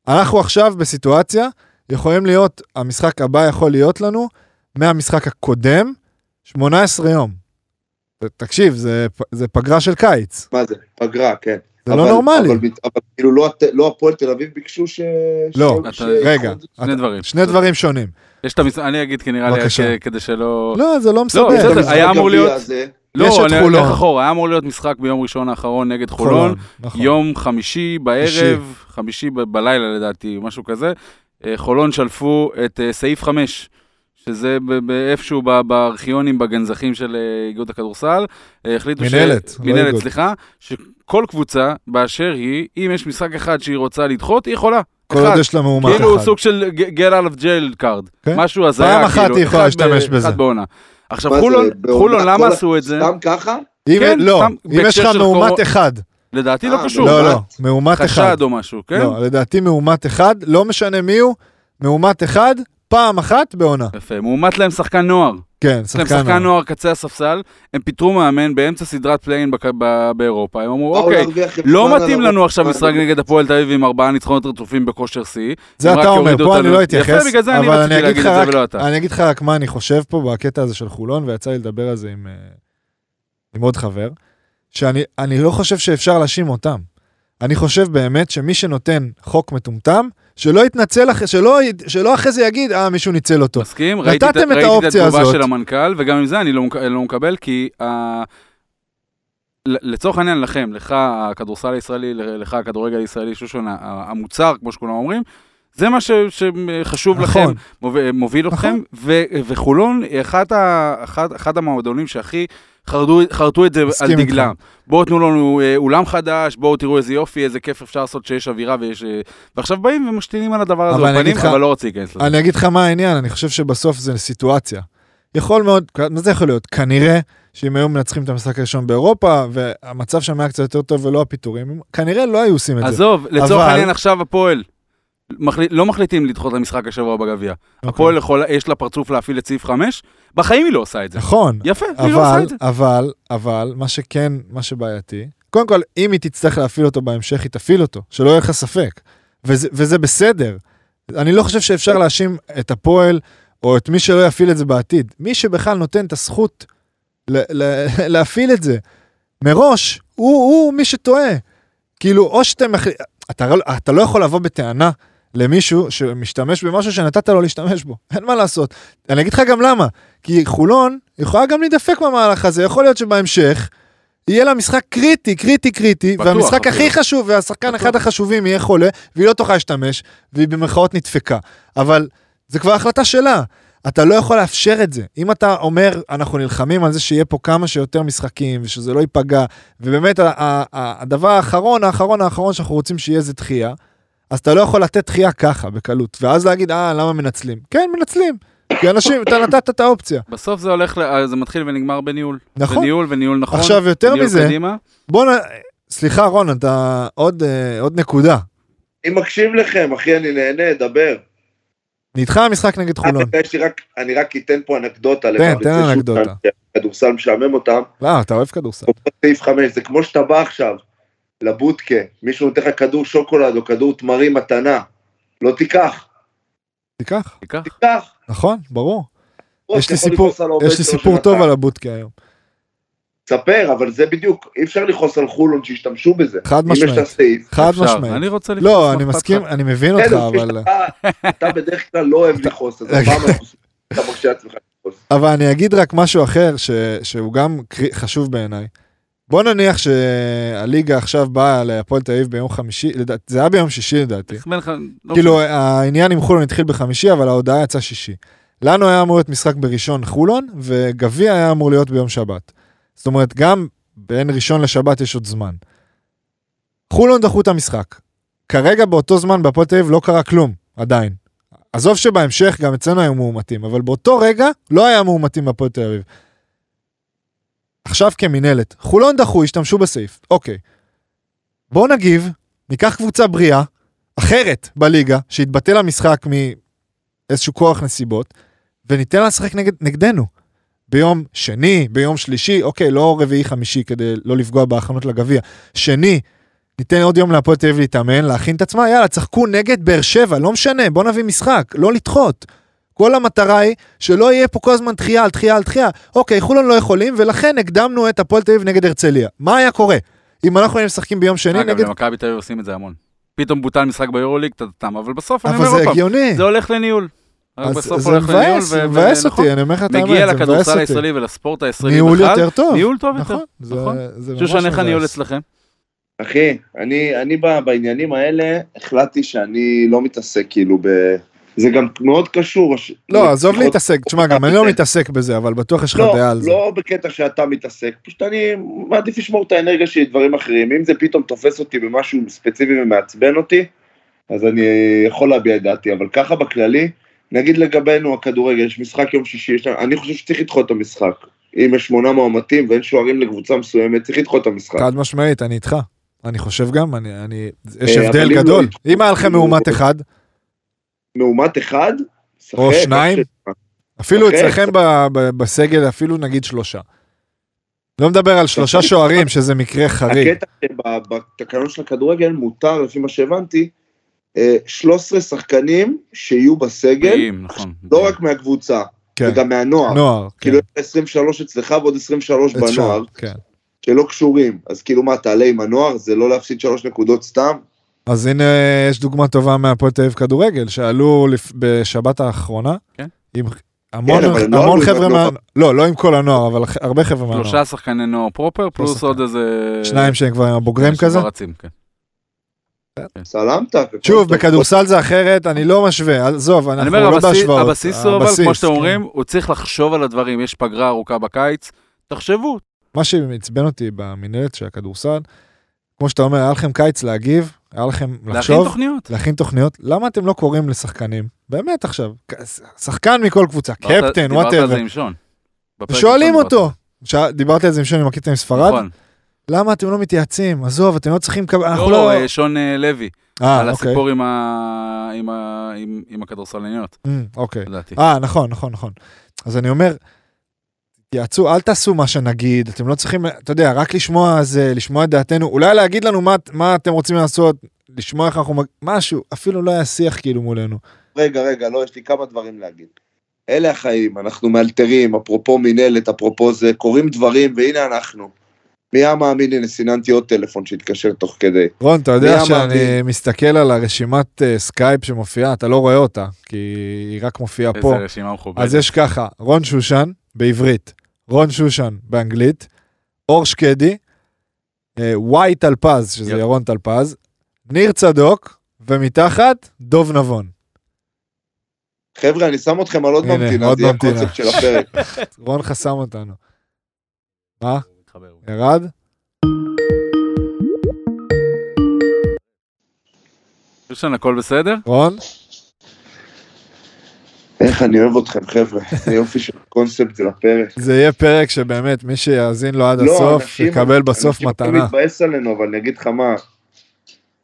Speaker 3: אנחנו עכשיו בסיטואציה, יכולים להיות, המשחק הבא יכול להיות לנו מהמשחק הקודם, 18 יום. ת- תקשיב, זה, פ- זה פגרה של קיץ,
Speaker 2: מה זה? פגרה, כן.
Speaker 3: זה לא נורמלי.
Speaker 2: אבל, אבל כאילו לא, הת- לא הפועל תל אביב ביקשו ש...
Speaker 3: לא,
Speaker 2: ש-
Speaker 4: אתה-
Speaker 2: ש-
Speaker 3: רגע,
Speaker 4: שני
Speaker 3: אתה-
Speaker 4: דברים.
Speaker 3: שני דברים שונים.
Speaker 4: יש את המשחק, אני אגיד כי נראה לי,
Speaker 3: בבקשה.
Speaker 4: כ- כדי שלא...
Speaker 3: לא, זה לא
Speaker 2: את
Speaker 4: בסדר,
Speaker 3: מסבך.
Speaker 2: המשחק
Speaker 4: היה אמור
Speaker 2: הגביע
Speaker 4: להיות-
Speaker 2: הזה,
Speaker 3: יש
Speaker 4: לא,
Speaker 3: את
Speaker 4: אני
Speaker 3: חולון.
Speaker 4: אלך אחורה, היה אמור להיות משחק ביום ראשון האחרון נגד חולון,
Speaker 3: נכון.
Speaker 4: יום חמישי בערב, חמישי ב- בלילה לדעתי, משהו כזה. אה, חולון שלפו את אה, סעיף 5, שזה ב- ב- איפשהו ב- בארכיונים, בגנזכים של אה, איגוד הכדורסל. אה, החליטו
Speaker 3: מנהלת, לא
Speaker 4: מנהלת,
Speaker 3: איגוד.
Speaker 4: סליחה, שכל קבוצה באשר היא, אם יש משחק אחד שהיא רוצה לדחות, היא יכולה.
Speaker 3: כל עוד
Speaker 4: אחד.
Speaker 3: יש לה מאומת
Speaker 4: כאילו
Speaker 3: אחד.
Speaker 4: סוג של ג- get out of jail card,
Speaker 3: כן.
Speaker 4: משהו הזיה,
Speaker 3: פעם אחת
Speaker 4: כאילו,
Speaker 3: היא יכולה
Speaker 4: אחד
Speaker 3: להשתמש
Speaker 4: ב-
Speaker 3: בזה.
Speaker 4: אחד בעונה. עכשיו
Speaker 2: מה זה,
Speaker 4: חולון,
Speaker 2: בעונה-
Speaker 4: חולון, למה
Speaker 2: כל-
Speaker 4: עשו את זה?
Speaker 2: סתם ככה?
Speaker 3: אם-
Speaker 4: כן,
Speaker 3: לא,
Speaker 4: סתם,
Speaker 3: אם יש
Speaker 4: בהקשר
Speaker 3: לך
Speaker 4: של
Speaker 3: מאומת
Speaker 4: קורונה-
Speaker 3: אחד,
Speaker 4: לדעתי
Speaker 2: אה,
Speaker 4: לא קשור,
Speaker 3: לא, לא,
Speaker 2: מאומת?
Speaker 3: מאומת אחד.
Speaker 4: חשד או משהו, כן?
Speaker 3: לא, לדעתי מאומת אחד, לא משנה מי הוא, מאומת אחד, פעם אחת בעונה.
Speaker 4: יפה, מועמד להם שחקן נוער.
Speaker 3: כן,
Speaker 4: יש
Speaker 3: שחקן.
Speaker 4: להם שחקן
Speaker 3: נוער.
Speaker 4: נוער קצה הספסל, הם פיטרו מאמן באמצע סדרת פליין בק- ב- באירופה, הם אמרו,
Speaker 2: באו
Speaker 4: אוקיי,
Speaker 2: להרוויח את
Speaker 4: לא
Speaker 2: זמן
Speaker 4: מתאים
Speaker 2: על
Speaker 4: לנו עכשיו
Speaker 2: מה-
Speaker 4: משחק נגד הפועל תל אביב עם ארבעה ניצחונות רצופים בכושר שיא.
Speaker 3: זה
Speaker 4: הם רק
Speaker 3: אתה אומר,
Speaker 4: יורידו
Speaker 3: פה
Speaker 4: אותנו.
Speaker 3: אני לא אתייחס,
Speaker 4: יפה, בגלל זה אני
Speaker 3: אבל אני
Speaker 4: רציתי
Speaker 3: אגיד לך
Speaker 4: להגיד את
Speaker 3: רק-
Speaker 4: זה ולא אתה.
Speaker 3: אני אגיד לך רק מה אני חושב פה בקטע הזה של חולון, ויצא לי לדבר על זה עם, אה, עם עוד חבר, שאני אני לא חושב שאפשר להאשים אותם. אני חושב באמת שמי שנותן חוק מטומטם, שלא יתנצל, אחרי- שלא, י- שלא אחרי זה יגיד, אה, מישהו ניצל אותו.
Speaker 4: מסכים? ראיתי את-
Speaker 3: נתתם את
Speaker 4: ראיתי את
Speaker 3: האופציה
Speaker 4: התגובה
Speaker 3: הזאת.
Speaker 4: של המנכ"ל, וגם עם זה אני לא מק- לא מקבל, כי ה- ל- לצורך העניין לכם, לך הכדורסל הישראלי, ל- לך הכדורגל הישראלי, שושון, ה- ה- המוצר, כמו שכולם אומרים, זה מה ש- שחשוב לכם,
Speaker 3: נכון,
Speaker 4: מוב- מוביל אתכם,
Speaker 3: נכון.
Speaker 4: ו- וחולון היא אחת ה- אחת- אחד המועדונים שהכי חרדו- חרטו את זה על
Speaker 3: מסכים
Speaker 4: דגלם. בואו תנו לנו אה, אולם חדש, בואו תראו איזה יופי, איזה כיף אפשר לעשות שיש אווירה ויש... אה, ועכשיו באים ומשתינים על הדבר הזה
Speaker 3: אבל אני
Speaker 4: בפנים,
Speaker 3: אגיד לך-
Speaker 4: אבל לא רוצה להיכנס לזה.
Speaker 3: אני אגיד לך מה העניין, אני חושב שבסוף זה סיטואציה. יכול מאוד, מה זה יכול להיות? כנראה שאם היו מנצחים את המשחק הראשון באירופה, והמצב שם היה קצת יותר טוב ולא הפיטורים, הם כנראה לא היו עושים את זה.
Speaker 4: עזוב, לצורך
Speaker 3: אבל-
Speaker 4: העניין עכשיו הפועל. מחליט, לא מחליטים לדחות למשחק השבוע בגביע.
Speaker 3: אוקיי.
Speaker 4: הפועל יכול, יש לה פרצוף להפעיל את סעיף 5, בחיים היא לא עושה את זה.
Speaker 3: נכון,
Speaker 4: יפה, היא לא עושה
Speaker 3: אבל,
Speaker 4: את זה.
Speaker 3: אבל, אבל, מה שכן, מה שבעייתי, קודם כל, אם היא תצטרך להפעיל אותו בהמשך, היא תפעיל אותו, שלא יהיה לך ספק. וזה, וזה בסדר. אני לא חושב שאפשר להאשים את הפועל או את מי שלא יפעיל את זה בעתיד. מי שבכלל נותן את הזכות ל- ל- להפעיל את זה מראש, הוא, הוא מי שטועה. כאילו, או שאתם... מחל... אתה, לא- אתה לא יכול לבוא בטענה למישהו שמשתמש במשהו שנתת לו להשתמש בו. אין מה לעשות. אני אגיד לך גם למה. כי חולון יכולה גם להידפק במהלך הזה, יכול להיות שבהמשך יהיה לה משחק קריטי, קריטי, קריטי,
Speaker 4: בטוח,
Speaker 3: והמשחק
Speaker 4: אפילו.
Speaker 3: הכי חשוב, והשחקן
Speaker 4: בטוח.
Speaker 3: אחד החשובים יהיה חולה, והיא לא תוכל להשתמש, והיא במרכאות נדפקה. אבל זה כבר החלטה שלה. אתה לא יכול לאפשר את זה. אם אתה אומר, אנחנו נלחמים על זה שיהיה פה כמה שיותר משחקים, ושזה לא ייפגע, ובאמת ה- ה- ה- הדבר האחרון, האחרון, האחרון שאנחנו רוצים שיהיה זה דחייה, אז אתה לא יכול לתת דחייה ככה, בקלות. ואז להגיד, אה, למה מנצלים? כן, מנצלים. כי אנשים, אתה נתת את האופציה.
Speaker 4: בסוף זה הולך, ל- אה, זה מתחיל ונגמר בניהול.
Speaker 3: נכון.
Speaker 4: בניהול וניהול נכון.
Speaker 3: עכשיו, יותר
Speaker 4: ניהול
Speaker 3: מזה,
Speaker 4: קדימה.
Speaker 3: בוא נ... סליחה, רון, אתה עוד, אה, עוד נקודה.
Speaker 2: אני מקשיב לכם, אחי, אני נהנה, דבר.
Speaker 3: נדחה המשחק נגד חולון.
Speaker 2: יש לי רק, אני רק אתן פה אנקדוטה.
Speaker 3: תן,
Speaker 2: לפריצי
Speaker 3: כן, תן
Speaker 2: שוב,
Speaker 3: אנקדוטה.
Speaker 2: שהכדורסל משעמם אותם.
Speaker 3: לא, אתה אוהב כדורסל.
Speaker 2: סעיף 5, זה כמו שאתה בא עכשיו לבודקה, מישהו נותן לך כדור שוקולד או כדור תמרים מתנה, לא תיקח,
Speaker 3: תיקח,
Speaker 4: תיקח.
Speaker 2: תיקח.
Speaker 3: נכון, ברור.
Speaker 4: אוקיי,
Speaker 3: יש לי
Speaker 2: אתה יכול
Speaker 3: סיפור-
Speaker 2: לכעוס על העובד
Speaker 3: יש לי
Speaker 2: שלו
Speaker 3: סיפור
Speaker 2: שנתן.
Speaker 3: טוב על הבודקה היום.
Speaker 2: ספר, אבל זה בדיוק, אי אפשר לכעוס על חולון שישתמשו בזה.
Speaker 3: חד
Speaker 2: אם יש את
Speaker 3: משמעית.
Speaker 2: הסעיף.
Speaker 3: חד
Speaker 4: אפשר.
Speaker 3: משמעית.
Speaker 4: אני רוצה לכעוס,
Speaker 3: לא,
Speaker 4: מה
Speaker 3: אני
Speaker 4: אכפת
Speaker 3: מסכים,
Speaker 4: לך?
Speaker 3: אני מבין אותך,
Speaker 2: בסדר,
Speaker 3: אבל... אה,
Speaker 2: אתה- אתה בדרך כלל לא אוהב לכעוס, אז הפעם אנחנו- אתה מרשה לעצמך לכעוס.
Speaker 3: אבל אני אגיד רק משהו אחר ש... שהוא גם קרי- חשוב בעיניי. בוא נניח שהליגה עכשיו באה להפועל תל אביב ביום חמישי, לדעת, זה היה ביום שישי לדעתי.
Speaker 4: תחמל לך- לא
Speaker 3: כאילו העניין עם חולון התחיל בחמישי, אבל ההודעה יצאה שישי. לנו היה אמור להיות משחק בראשון חולון, וגביע היה אמור להיות ביום שבת. זאת אומרת, גם בין ראשון לשבת יש עוד זמן. חולון דחו את המשחק. כרגע באותו זמן בהפועל תל אביב לא קרה כלום, עדיין. עזוב שבהמשך גם אצלנו היו מאומתים, אבל באותו רגע לא היה מאומתים בהפועל תל אביב. עכשיו כמינהלת, חולון דחו, השתמשו בסעיף, אוקיי. בואו נגיב, ניקח קבוצה בריאה, אחרת בליגה, שהתבטל המשחק מאיזשהו כוח נסיבות, וניתן לה לשחק נגד, נגדנו. ביום שני, ביום שלישי, אוקיי, לא רביעי חמישי כדי לא לפגוע בהכנות לגביע. שני, ניתן עוד יום להפועל תל אביב להתאמן, להכין את עצמה, יאללה, צחקו נגד באר שבע, לא משנה, בוא נביא משחק, לא לדחות. כל המטרה היא שלא יהיה פה כל הזמן דחייה על דחייה על דחייה. אוקיי, חולון לא יכולים, ולכן הקדמנו את הפועל תל אביב נגד הרצליה. מה היה קורה? אם אנחנו היינו משחקים ביום שני
Speaker 4: אגב,
Speaker 3: נגד...
Speaker 4: למכבי תל אביב עושים את זה המון. פתאום בוטל משחק ביורוליג, טאטאטאם, אבל בסוף אני
Speaker 3: אבל
Speaker 4: אומר עוד
Speaker 3: זה
Speaker 4: פעם,
Speaker 3: הגיוני.
Speaker 4: זה הולך לניהול. רק
Speaker 3: אז
Speaker 4: בסוף
Speaker 3: זה
Speaker 4: הולך לניהול,
Speaker 3: מבאס, זה
Speaker 4: ו-
Speaker 3: מבאס
Speaker 4: ונכון,
Speaker 3: אותי, אני אומר לך את האמת,
Speaker 4: מגיע
Speaker 3: זה מבאס
Speaker 4: לכדורסל
Speaker 3: אותי.
Speaker 4: הישראלי ולספורט הישראלי
Speaker 3: ניהול
Speaker 4: בכלל,
Speaker 3: יותר טוב,
Speaker 4: ניהול טוב יותר.
Speaker 3: נכון, זה-
Speaker 4: נכון.
Speaker 3: זה ממש
Speaker 4: שושן, איך הניהול
Speaker 3: מבאס.
Speaker 4: אצלכם?
Speaker 2: אחי, אני, אני ב- בעניינים האלה החלטתי שאני לא מתעסק כאילו ב... זה גם מאוד קשור. הש-
Speaker 3: לא, עזוב
Speaker 2: לשיחות-
Speaker 3: להתעסק, תשמע, גם אני לא מתעסק בזה, אבל בטוח יש לך
Speaker 2: לא,
Speaker 3: דעה על זה.
Speaker 2: לא בקטע שאתה מתעסק, פשוט אני מעדיף לשמור את האנרגיה שלי לדברים אחרים. אם זה פתאום תופס אותי במשהו ספציפי ומעצבן אותי, אז אני יכול להביע את דעתי, אבל ככה בכללי, נגיד לגבינו הכדורגל, יש משחק יום שישי, יש... אני חושב שצריך לדחות את המשחק. אם יש שמונה מאומתים ואין שוערים לקבוצה מסוימת, צריך לדחות את המשחק.
Speaker 3: חד משמעית, אני איתך. אני חושב גם, אני, אני, יש
Speaker 2: אה, אבל אם
Speaker 3: הבדל
Speaker 2: לא
Speaker 3: גדול.
Speaker 2: ידחו,
Speaker 3: אם היה לכם
Speaker 2: כאילו-
Speaker 3: מאומת אחד,
Speaker 2: מאומת אחד, שחק,
Speaker 3: או שניים?
Speaker 2: איך ש-
Speaker 3: אפילו
Speaker 2: אוקיי.
Speaker 3: אצלכם ב- ב- בסגל, אפילו נגיד שלושה. לא מדבר על שלושה שוערים, שזה מקרה חריג.
Speaker 2: הקטע שבתקנון של הכדורגל מותר, לפי מה שהבנתי, אה, 13 שחקנים שיהיו בסגל,
Speaker 4: בריאים, נכון.
Speaker 2: לא רק מהקבוצה,
Speaker 3: כן,
Speaker 2: וגם מהנוער.
Speaker 3: נוער. כן,
Speaker 2: כאילו יש לך 23 אצלך ועוד 23
Speaker 3: אצלם,
Speaker 2: בנוער,
Speaker 3: כן.
Speaker 2: שלא קשורים. אז כאילו מה, תעלה עם הנוער? זה לא להפסיד שלוש נקודות סתם?
Speaker 3: אז הנה יש דוגמה טובה מהפועל תל אביב כדורגל, שעלו לפ- בשבת האחרונה.
Speaker 4: כן.
Speaker 3: עם המון,
Speaker 2: אבל הם לא
Speaker 3: המון
Speaker 2: עלו עם
Speaker 3: חבר'ה
Speaker 2: הנוער.
Speaker 3: מה... לא, לא עם כל הנוער, אבל ח- הרבה חבר'ה מהנוער.
Speaker 4: שלושה שחקני נוער פרופר, פלוס
Speaker 3: לא שחקן.
Speaker 4: עוד איזה...
Speaker 3: שניים שהם כבר עם הבוגרים
Speaker 4: שכבר
Speaker 3: כזה.
Speaker 4: רצים, כן.
Speaker 2: סלמת?
Speaker 3: שוב, בכדורסל זה אחרת, אני לא משווה, עזוב,
Speaker 4: אני
Speaker 3: אנחנו
Speaker 4: אומר,
Speaker 3: לא
Speaker 4: הבסיס,
Speaker 3: בהשוואות.
Speaker 4: הבסיס הוא אבל, כמו
Speaker 3: הבסיס,
Speaker 4: שאתם
Speaker 3: כן.
Speaker 4: אומרים, הוא צריך לחשוב על הדברים, יש פגרה ארוכה בקיץ, תחשבו.
Speaker 3: מה שעצבן אותי במנהלת של הכדורסל, כמו שאתה אומר, היה לכם קיץ להגיב, היה לכם
Speaker 4: להכין
Speaker 3: לחשוב,
Speaker 4: תוכניות.
Speaker 3: להכין תוכניות, למה אתם לא קוראים לשחקנים? באמת עכשיו, כ- שחקן מכל קבוצה,
Speaker 4: דיברת-
Speaker 3: קפטן,
Speaker 4: דיברת על
Speaker 3: וואטאבר,
Speaker 4: זה עם שון. בפרק
Speaker 3: שואלים
Speaker 4: הראשון
Speaker 3: אותו. ש-
Speaker 4: דיברת.
Speaker 3: דיברתי על זה עם שני מקטע עם ספרד,
Speaker 4: נכון.
Speaker 3: למה אתם לא מתייעצים? עזוב, אתם לא צריכים לקבל, אנחנו
Speaker 4: לא,
Speaker 3: לא...
Speaker 4: אה, שון אה, לוי,
Speaker 3: אה,
Speaker 4: על
Speaker 3: אוקיי.
Speaker 4: הסיפור עם ה- עם ה- עם- עם הכדורסלניות,
Speaker 3: אמ, אוקיי.
Speaker 4: לדעתי.
Speaker 3: אה, נכון, נכון, נכון. אז אני אומר, תיעצו, אל תעשו מה שנגיד, אתם לא צריכים, אתה יודע, רק לשמוע זה, לשמוע את דעתנו, אולי להגיד לנו מה, מה אתם רוצים לעשות, לשמוע איך אנחנו, מג- משהו, אפילו לא היה שיח כאילו מולנו.
Speaker 2: רגע, רגע, לא, יש לי כמה דברים להגיד. אלה החיים, אנחנו מאלתרים, אפרופו מינהלת, אפרופו זה, קורים דברים, והנה אנחנו. מי היה מאמין, הנה סיננתי עוד טלפון שהתקשר תוך כדי.
Speaker 3: רון, אתה יודע
Speaker 2: מי
Speaker 3: שאני
Speaker 2: אמרתי?
Speaker 3: מסתכל על הרשימת אה, סקייפ שמופיעה, אתה לא רואה אותה, כי היא רק מופיעה
Speaker 4: איזה
Speaker 3: פה.
Speaker 4: רשימה מכובדת.
Speaker 3: אז יש ככה, רון שושן בעברית, רון שושן באנגלית, אור שקדי, אה, וואי טלפז, שזה
Speaker 4: יפ.
Speaker 3: ירון טלפז, ניר צדוק, ומתחת, דוב נבון.
Speaker 2: חבר'ה, אני שם אתכם על עוד
Speaker 3: הנה,
Speaker 2: ממתינה,
Speaker 3: עוד
Speaker 2: זה יהיה
Speaker 3: ממתינה.
Speaker 2: הקונספט של הפרק.
Speaker 3: רון חסם אותנו. מה?
Speaker 4: מתחבר.
Speaker 3: ירד?
Speaker 4: שושן, הכל בסדר?
Speaker 3: רון?
Speaker 2: איך אני אוהב אתכם, חבר'ה. זה יופי של קונספט של הפרק.
Speaker 3: זה יהיה פרק שבאמת, מי שיאזין לו עד
Speaker 2: לא,
Speaker 3: הסוף,
Speaker 2: אנשים-
Speaker 3: יקבל בסוף
Speaker 2: אנשים יכולים
Speaker 3: מתנה.
Speaker 2: להתבאס עלינו, אבל אני אגיד לך מה,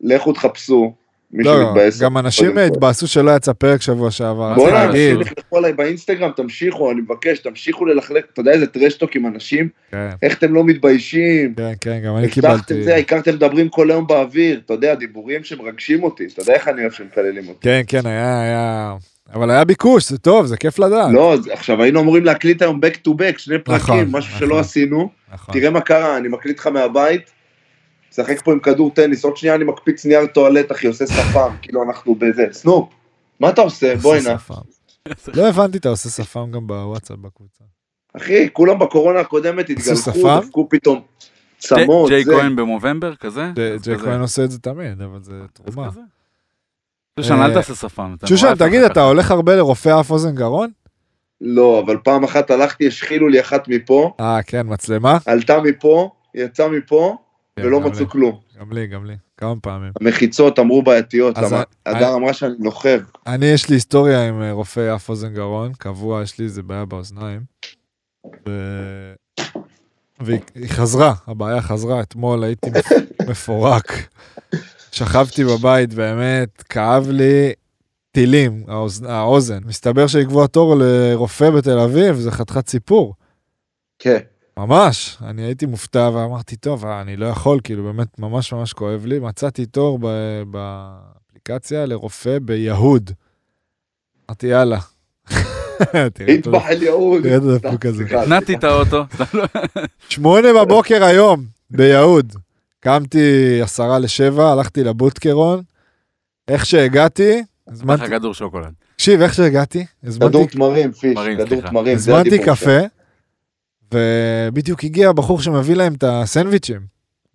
Speaker 2: לכו תחפשו, מי
Speaker 3: לא,
Speaker 2: שמתבאס.
Speaker 3: גם אנשים
Speaker 2: קודם כל.
Speaker 3: התבאסו שלא יצא פרק שבוע שעבר, אז
Speaker 2: בואנה,
Speaker 3: תגיד.
Speaker 2: אנשים תלכו עליי באינסטגרם, תמשיכו, אני מבקש, תמשיכו ללכלך, אתה יודע איזה טרשטוק עם אנשים,
Speaker 3: כן,
Speaker 2: איך אתם לא מתביישים,
Speaker 3: כן, כן, גם אני
Speaker 2: הבטחתם
Speaker 3: קיבלתי.
Speaker 2: זה, העיקר אתם מדברים כל היום באוויר, אתה יודע, דיבורים שמרגשים אותי, אתה יודע איך אני אוהב שמקללים אותי.
Speaker 3: כן, כן, היה, היה... אבל היה ביקוש, זה טוב, זה כיף לדעת.
Speaker 2: לא, אז עכשיו היינו אמורים להקליט היום back to back, שני
Speaker 3: אה. נכון,
Speaker 2: פרקים, משהו
Speaker 3: נכון.
Speaker 2: שלא עשינו,
Speaker 3: נכון.
Speaker 2: תראה מה קרה, אני מקליט לך מהבית, משחק פה עם כדור טניס, עוד שנייה אני מקפיץ נייר טואלט, אחי, עושה שפם, כאילו אנחנו בזה, סנופ, מה אתה עושה? בוא הנה.
Speaker 3: עושה שפם. לא הבנתי, אתה עושה שפם גם בוואטסאפ בקבוצה.
Speaker 2: אחי, כולם בקורונה הקודמת
Speaker 3: שפם?
Speaker 2: התגלחו, דפקו פתאום
Speaker 4: ג'י-
Speaker 2: צמות,
Speaker 4: ג'יי
Speaker 2: זה.
Speaker 4: כהן במובמבר כזה?
Speaker 3: ג'ק
Speaker 4: אז
Speaker 3: ג'ק
Speaker 4: כזה.
Speaker 3: כהן עושה את זה תמיד, אבל זה
Speaker 4: אז
Speaker 3: תרומה.
Speaker 4: כזה. שושן,
Speaker 3: אה,
Speaker 4: אל תעשה שפם. אתה
Speaker 3: שושן,
Speaker 4: נורא
Speaker 3: תגיד,
Speaker 4: יפה
Speaker 3: אתה
Speaker 4: ככה.
Speaker 3: הולך הרבה לרופא אף אוזן גרון?
Speaker 2: לא, אבל פעם אחת הלכתי, השחילו לי אחת מפה,
Speaker 3: אה, כן, מצלמה?
Speaker 2: עלתה מפה, יצאה מפה,
Speaker 3: כן,
Speaker 2: ולא
Speaker 3: גם
Speaker 2: מצאו
Speaker 3: לי.
Speaker 2: כלום.
Speaker 3: גם לי, גם לי. כמה פעמים.
Speaker 2: המחיצות אמרו בעייתיות,
Speaker 3: אז
Speaker 2: למה?
Speaker 3: ה-
Speaker 2: הדר
Speaker 3: ה-
Speaker 2: אמרה שאני נוחב.
Speaker 3: אני, יש לי היסטוריה עם אה, רופא אף אוזן גרון, קבוע, יש לי איזה בעיה באוזניים. ו- והיא היא חזרה, הבעיה חזרה, אתמול הייתי מפ- מפורק. שכבתי בבית, באמת, כאב לי טילים, האוז... האוזן. מסתבר שלקבוע תור לרופא בתל אביב זה חתיכת סיפור.
Speaker 2: כן.
Speaker 3: ממש, אני הייתי מופתע ואמרתי, טוב, אה, אני לא יכול, כאילו, באמת ממש ממש כואב לי. מצאתי תור ב- באפליקציה לרופא ביהוד. אמרתי, יאללה. תראה את ה-
Speaker 2: נטבח אל יהוד.
Speaker 3: תראה את הדפוק הזה.
Speaker 2: סליחה,
Speaker 4: נעתי את האוטו.
Speaker 3: שמונה בבוקר היום, ביהוד. קמתי עשרה לשבע, הלכתי לבוטקרון. איך שהגעתי,
Speaker 4: לך
Speaker 3: הזמנתי...
Speaker 4: כדור שוקולד.
Speaker 3: תקשיב, איך שהגעתי, הזמנתי
Speaker 2: כדור תמרים, פיש,
Speaker 4: תמרים,
Speaker 2: כדור
Speaker 4: סליחה.
Speaker 2: תמרים. כן, זה
Speaker 3: הזמנתי
Speaker 2: הדיבור כן. שלך.
Speaker 3: קפה, ובדיוק הגיע הבחור שמביא להם את הסנדוויצ'ים.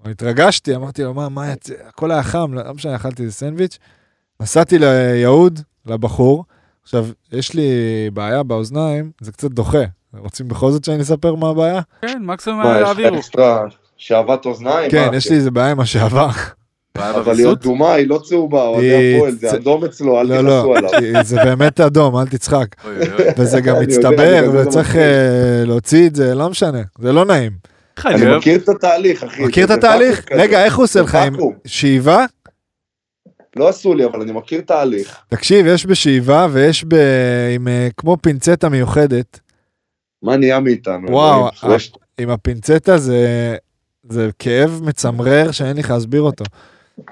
Speaker 3: התרגשתי, אמרתי לו, מה, מה, יצא? הכל היה חם, לא משנה, אכלתי איזה סנדוויץ'. נסעתי ליהוד, לבחור. עכשיו, יש לי בעיה באוזניים, זה קצת דוחה. רוצים בכל זאת שאני אספר מה הבעיה?
Speaker 4: כן, מקסימום
Speaker 2: מה, יש לך
Speaker 4: יעבירו.
Speaker 2: אקסטרה שעבת אוזניים?
Speaker 3: כן,
Speaker 2: מה,
Speaker 3: יש לי איזה בעיה עם השעבר.
Speaker 2: אבל היא אדומה, היא לא צהובה,
Speaker 3: היא
Speaker 2: אוהדי הפועל,
Speaker 3: צ-
Speaker 2: זה אדום אצלו, אל
Speaker 3: לא, לא,
Speaker 2: תכנסו עליו.
Speaker 3: זה באמת אדום, אל תצחק.
Speaker 4: אוי, אוי, אוי.
Speaker 3: וזה גם
Speaker 2: אני לא יודע,
Speaker 3: מצטבר,
Speaker 2: אני יודע, זה
Speaker 3: וצריך
Speaker 2: מצחיק.
Speaker 3: אה, להוציא את זה, לא משנה, זה לא נעים.
Speaker 4: איך אני
Speaker 2: אני
Speaker 4: אוהב?
Speaker 2: מכיר את התהליך, אחי.
Speaker 3: מכיר את
Speaker 2: כן, זה
Speaker 3: התהליך?
Speaker 2: ואקום כזה.
Speaker 3: רגע, איך הוא עושה
Speaker 2: זה
Speaker 3: לך עם
Speaker 2: ואקום.
Speaker 3: שאיבה?
Speaker 2: לא עשו לי, אבל אני מכיר תהליך.
Speaker 3: תקשיב, יש בשאיבה ויש ב... עם אה, כמו פינצטה מיוחדת.
Speaker 2: מה נהיה מאיתנו?
Speaker 3: וואו,
Speaker 2: אלוהים?
Speaker 3: אה.
Speaker 2: יש-
Speaker 3: עם הפינצטה זה, זה כאב מצמרר שאין לי לך להסביר אותו.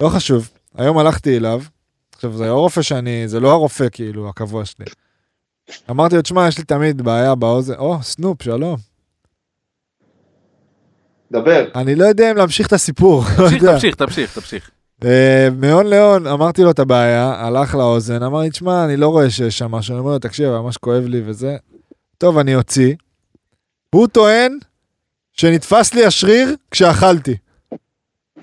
Speaker 3: לא חשוב, היום הלכתי אליו, עכשיו זה הרופא שאני, זה לא הרופא כאילו הקבוע שלי. אמרתי לו, תשמע, יש לי תמיד בעיה באוזן, או, סנופ, שלום.
Speaker 2: דבר.
Speaker 3: אני לא יודע אם להמשיך את הסיפור, לא
Speaker 4: תמשיך,
Speaker 3: יודע.
Speaker 4: תמשיך, תמשיך, תמשיך.
Speaker 3: אה, מהון להון, אמרתי לו את הבעיה, הלך לאוזן, אמר לי, תשמע, אני לא רואה שיש שם משהו, אני אומר לו, תקשיב, ממש כואב לי וזה. טוב, אני אוציא. הוא טוען שנתפס לי השריר כשאכלתי,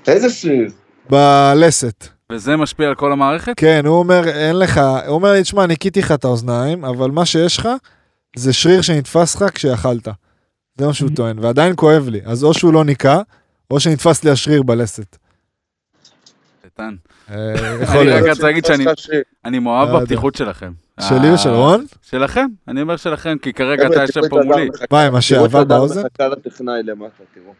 Speaker 2: איזה שיר.
Speaker 3: בלסת.
Speaker 4: וזה משפיע על כל המערכת?
Speaker 3: כן, הוא אומר, אין לך, הוא אומר לי, תשמע, ניקיתי לך את האוזניים, אבל מה שיש לך, זה שריר שנתפס לך כשאכלת. זה מה שהוא טוען, ועדיין כואב לי. אז או שהוא לא ניקה, או שנתפס לי השריר בלסת.
Speaker 4: איתן.
Speaker 3: אה, יכול
Speaker 4: אני רק
Speaker 3: להיות.
Speaker 4: רוצה להגיד שאני- אני מאוהב
Speaker 3: לא יודע.
Speaker 4: בפתיחות שלכם.
Speaker 3: שלי
Speaker 4: אה,
Speaker 3: ושל רון?
Speaker 4: שלכם. אני אומר שלכם, כי כרגע אתה
Speaker 2: חבר'ה,
Speaker 4: יושב
Speaker 2: תראו את
Speaker 4: פה מולי.
Speaker 2: הדר מחכה-
Speaker 3: מה, עם
Speaker 2: תראו את
Speaker 3: השעבה
Speaker 2: הדר
Speaker 3: באוזן?
Speaker 2: מחכה לטכנאי למטה, תראו.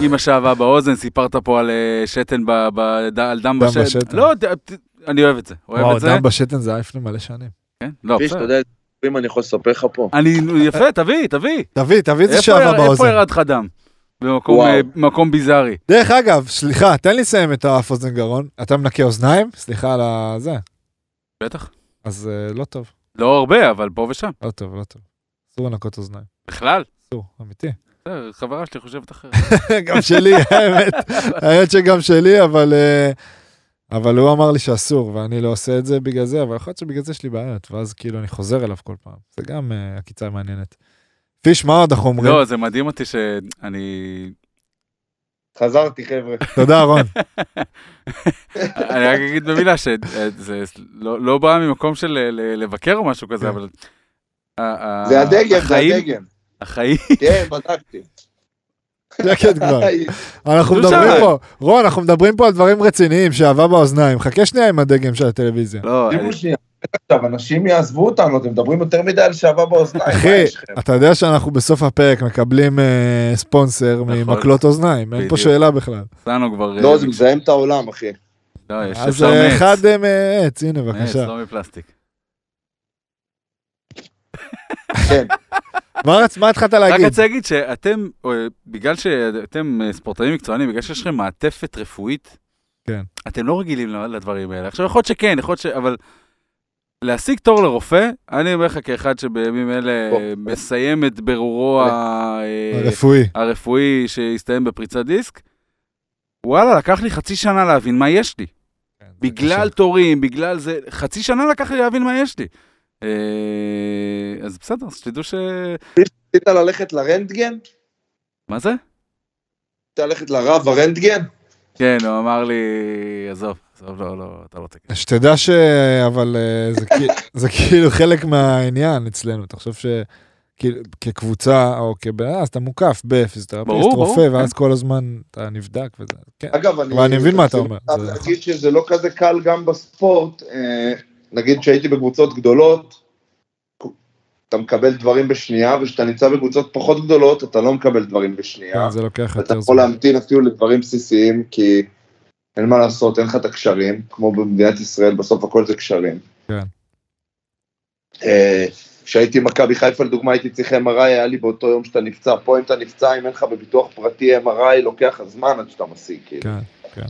Speaker 4: עם השעווה באוזן, סיפרת פה על אה, שתן, ב- ב- על דם
Speaker 3: דם
Speaker 4: בשתן.
Speaker 3: בשתן.
Speaker 4: לא, ת- ת- אני אוהב את זה. אוהב
Speaker 3: וואו,
Speaker 4: את זה.
Speaker 3: דם בשתן זה היה לפני מלא שנים.
Speaker 4: כן? לא,
Speaker 2: פיש, אתה
Speaker 4: בסדר.
Speaker 2: יודע, אם אני יכול לספר לך פה.
Speaker 4: אני, יפה, תביא, תביא.
Speaker 3: תביא, תביא את זה
Speaker 4: איפה
Speaker 3: שעבה
Speaker 4: יר- איפה
Speaker 3: באוזן.
Speaker 4: ירד לך דם? במקום
Speaker 2: וואו.
Speaker 4: אה, מקום ביזארי.
Speaker 3: דרך אגב, סליחה, תן לי לסיים את האף אוזן גרון. אתה מנקה אוזניים? סליחה על הזה.
Speaker 4: בטח.
Speaker 3: אז אה, לא טוב,
Speaker 4: לא הרבה, אבל פה ושם.
Speaker 3: לא טוב, לא טוב. אסור לנקות אוזניים.
Speaker 4: בכלל.
Speaker 3: אסור, אמיתי.
Speaker 4: בסדר, חברה שלי חושבת אחרת.
Speaker 3: גם שלי, האמת. האמת שגם שלי, אבל... אה, אבל הוא אמר לי שאסור, ואני לא עושה את זה בגלל זה, אבל יכול להיות שבגלל זה יש לי בעיות, ואז כאילו אני חוזר אליו כל פעם. זה גם אה, עקיצה מעניינת. פיש, מה עוד אנחנו אומרים?
Speaker 4: לא, זה מדהים אותי שאני...
Speaker 2: חזרתי, חבר'ה.
Speaker 3: תודה, רון.
Speaker 4: אני רק אגיד במילה שזה לא לא בא ממקום של ל- ל- לבקר או משהו
Speaker 3: כן.
Speaker 4: כזה, אבל... ה- ה-
Speaker 2: זה הדגם, זה
Speaker 4: אה, החיים-
Speaker 2: הדגם.
Speaker 4: החיים,
Speaker 2: כן, בדקתי.
Speaker 3: שקט כבר.
Speaker 4: אה,
Speaker 3: אנחנו
Speaker 4: נו,
Speaker 3: מדברים
Speaker 4: שמה.
Speaker 3: פה, רון, אנחנו מדברים פה על דברים רציניים, שעבה באוזניים. חכה שנייה עם הדגם של הטלוויזיה.
Speaker 4: לא, אני-
Speaker 2: תראו שנייה, עכשיו, אנשים יעזבו אותנו, אתם מדברים יותר מדי על שעבה באוזניים. אה, מה
Speaker 3: אחי,
Speaker 2: יש
Speaker 4: כן.
Speaker 2: לכם?
Speaker 3: אתה יודע שאנחנו בסוף הפרק מקבלים אה, ספונסר
Speaker 4: נכון.
Speaker 3: ממקלות אוזניים, אין פה
Speaker 4: בדיוק.
Speaker 3: שאלה בכלל.
Speaker 4: אותנו כבר... אה,
Speaker 2: לא, זה מזהם את העולם, אחי.
Speaker 4: לא, יש
Speaker 3: אז
Speaker 4: אפשר
Speaker 3: אה,
Speaker 4: מעץ.
Speaker 3: אחד אה, מעץ, הנה
Speaker 4: מעץ,
Speaker 3: בבקשה.
Speaker 4: לא מפלסטיק.
Speaker 2: כן.
Speaker 3: מה רצ- מה התחלת
Speaker 4: רק
Speaker 3: להגיד?
Speaker 4: רוצה להגיד שאתם, אה, בגלל שאתם אה, ספורטאים מקצוענים, בגלל שיש לכם מעטפת רפואית,
Speaker 3: כן.
Speaker 4: אתם לא רגילים ל- לדברים האלה. עכשיו, יכול להיות שכן, יכול להיות ש... אבל להשיג תור לרופא, אני אומר לך כאחד שבימים אלה
Speaker 2: בוא.
Speaker 4: אה, מסיים את ברורו ה- אה,
Speaker 3: הרפואי.
Speaker 4: הרפואי שהסתיים בפריצת דיסק, וואלה, לקח לי חצי שנה להבין מה יש לי. כן, בגלל תורים, בגלל זה, חצי שנה לקח לי להבין מה יש לי. אה, אז בסדר, אז שתדעו ש...
Speaker 2: רצית ללכת לרנטגן?
Speaker 4: מה זה?
Speaker 2: רצית ללכת לרב הרנטגן?
Speaker 4: כן, הוא אמר לי, עזוב, עזוב, לא, לא, אתה לא תגיד.
Speaker 3: שתדע ש... אבל אה, זה כי- זה כאילו חלק מהעניין אצלנו, תחשוב ש... כאילו, כקבוצה או כבן אדם, אז אתה מוקף בפיזיותרפיסט,
Speaker 4: ברור, ברור,
Speaker 3: רופא,
Speaker 4: כן.
Speaker 3: ואז כל הזמן אתה נבדק וזה. כן.
Speaker 2: אגב, אני...
Speaker 3: אבל אני מבין מה אתה אומר.
Speaker 2: חייב
Speaker 3: זה-
Speaker 2: להגיד שזה לא כזה קל גם בספורט. אה, נגיד שהייתי בקבוצות גדולות, אתה מקבל דברים בשנייה, וכשאתה נמצא בקבוצות פחות גדולות, אתה לא מקבל דברים בשנייה.
Speaker 3: כן, זה לוקח
Speaker 2: אתה
Speaker 3: יותר זמן.
Speaker 2: יכול להמתין אפילו לדברים בסיסיים, כי אין מה לעשות, אין לך את הקשרים, כמו במדינת ישראל, בסוף הכל זה קשרים.
Speaker 3: כן.
Speaker 2: אה, כשהייתי במכבי חיפה, לדוגמה, הייתי צריך MRI, היה לי באותו יום שאתה נפצע. פה אם אתה נפצע, אם אין לך בביטוח פרטי MRI, לוקח לך זמן עד שאתה משיג. כאילו.
Speaker 3: כן.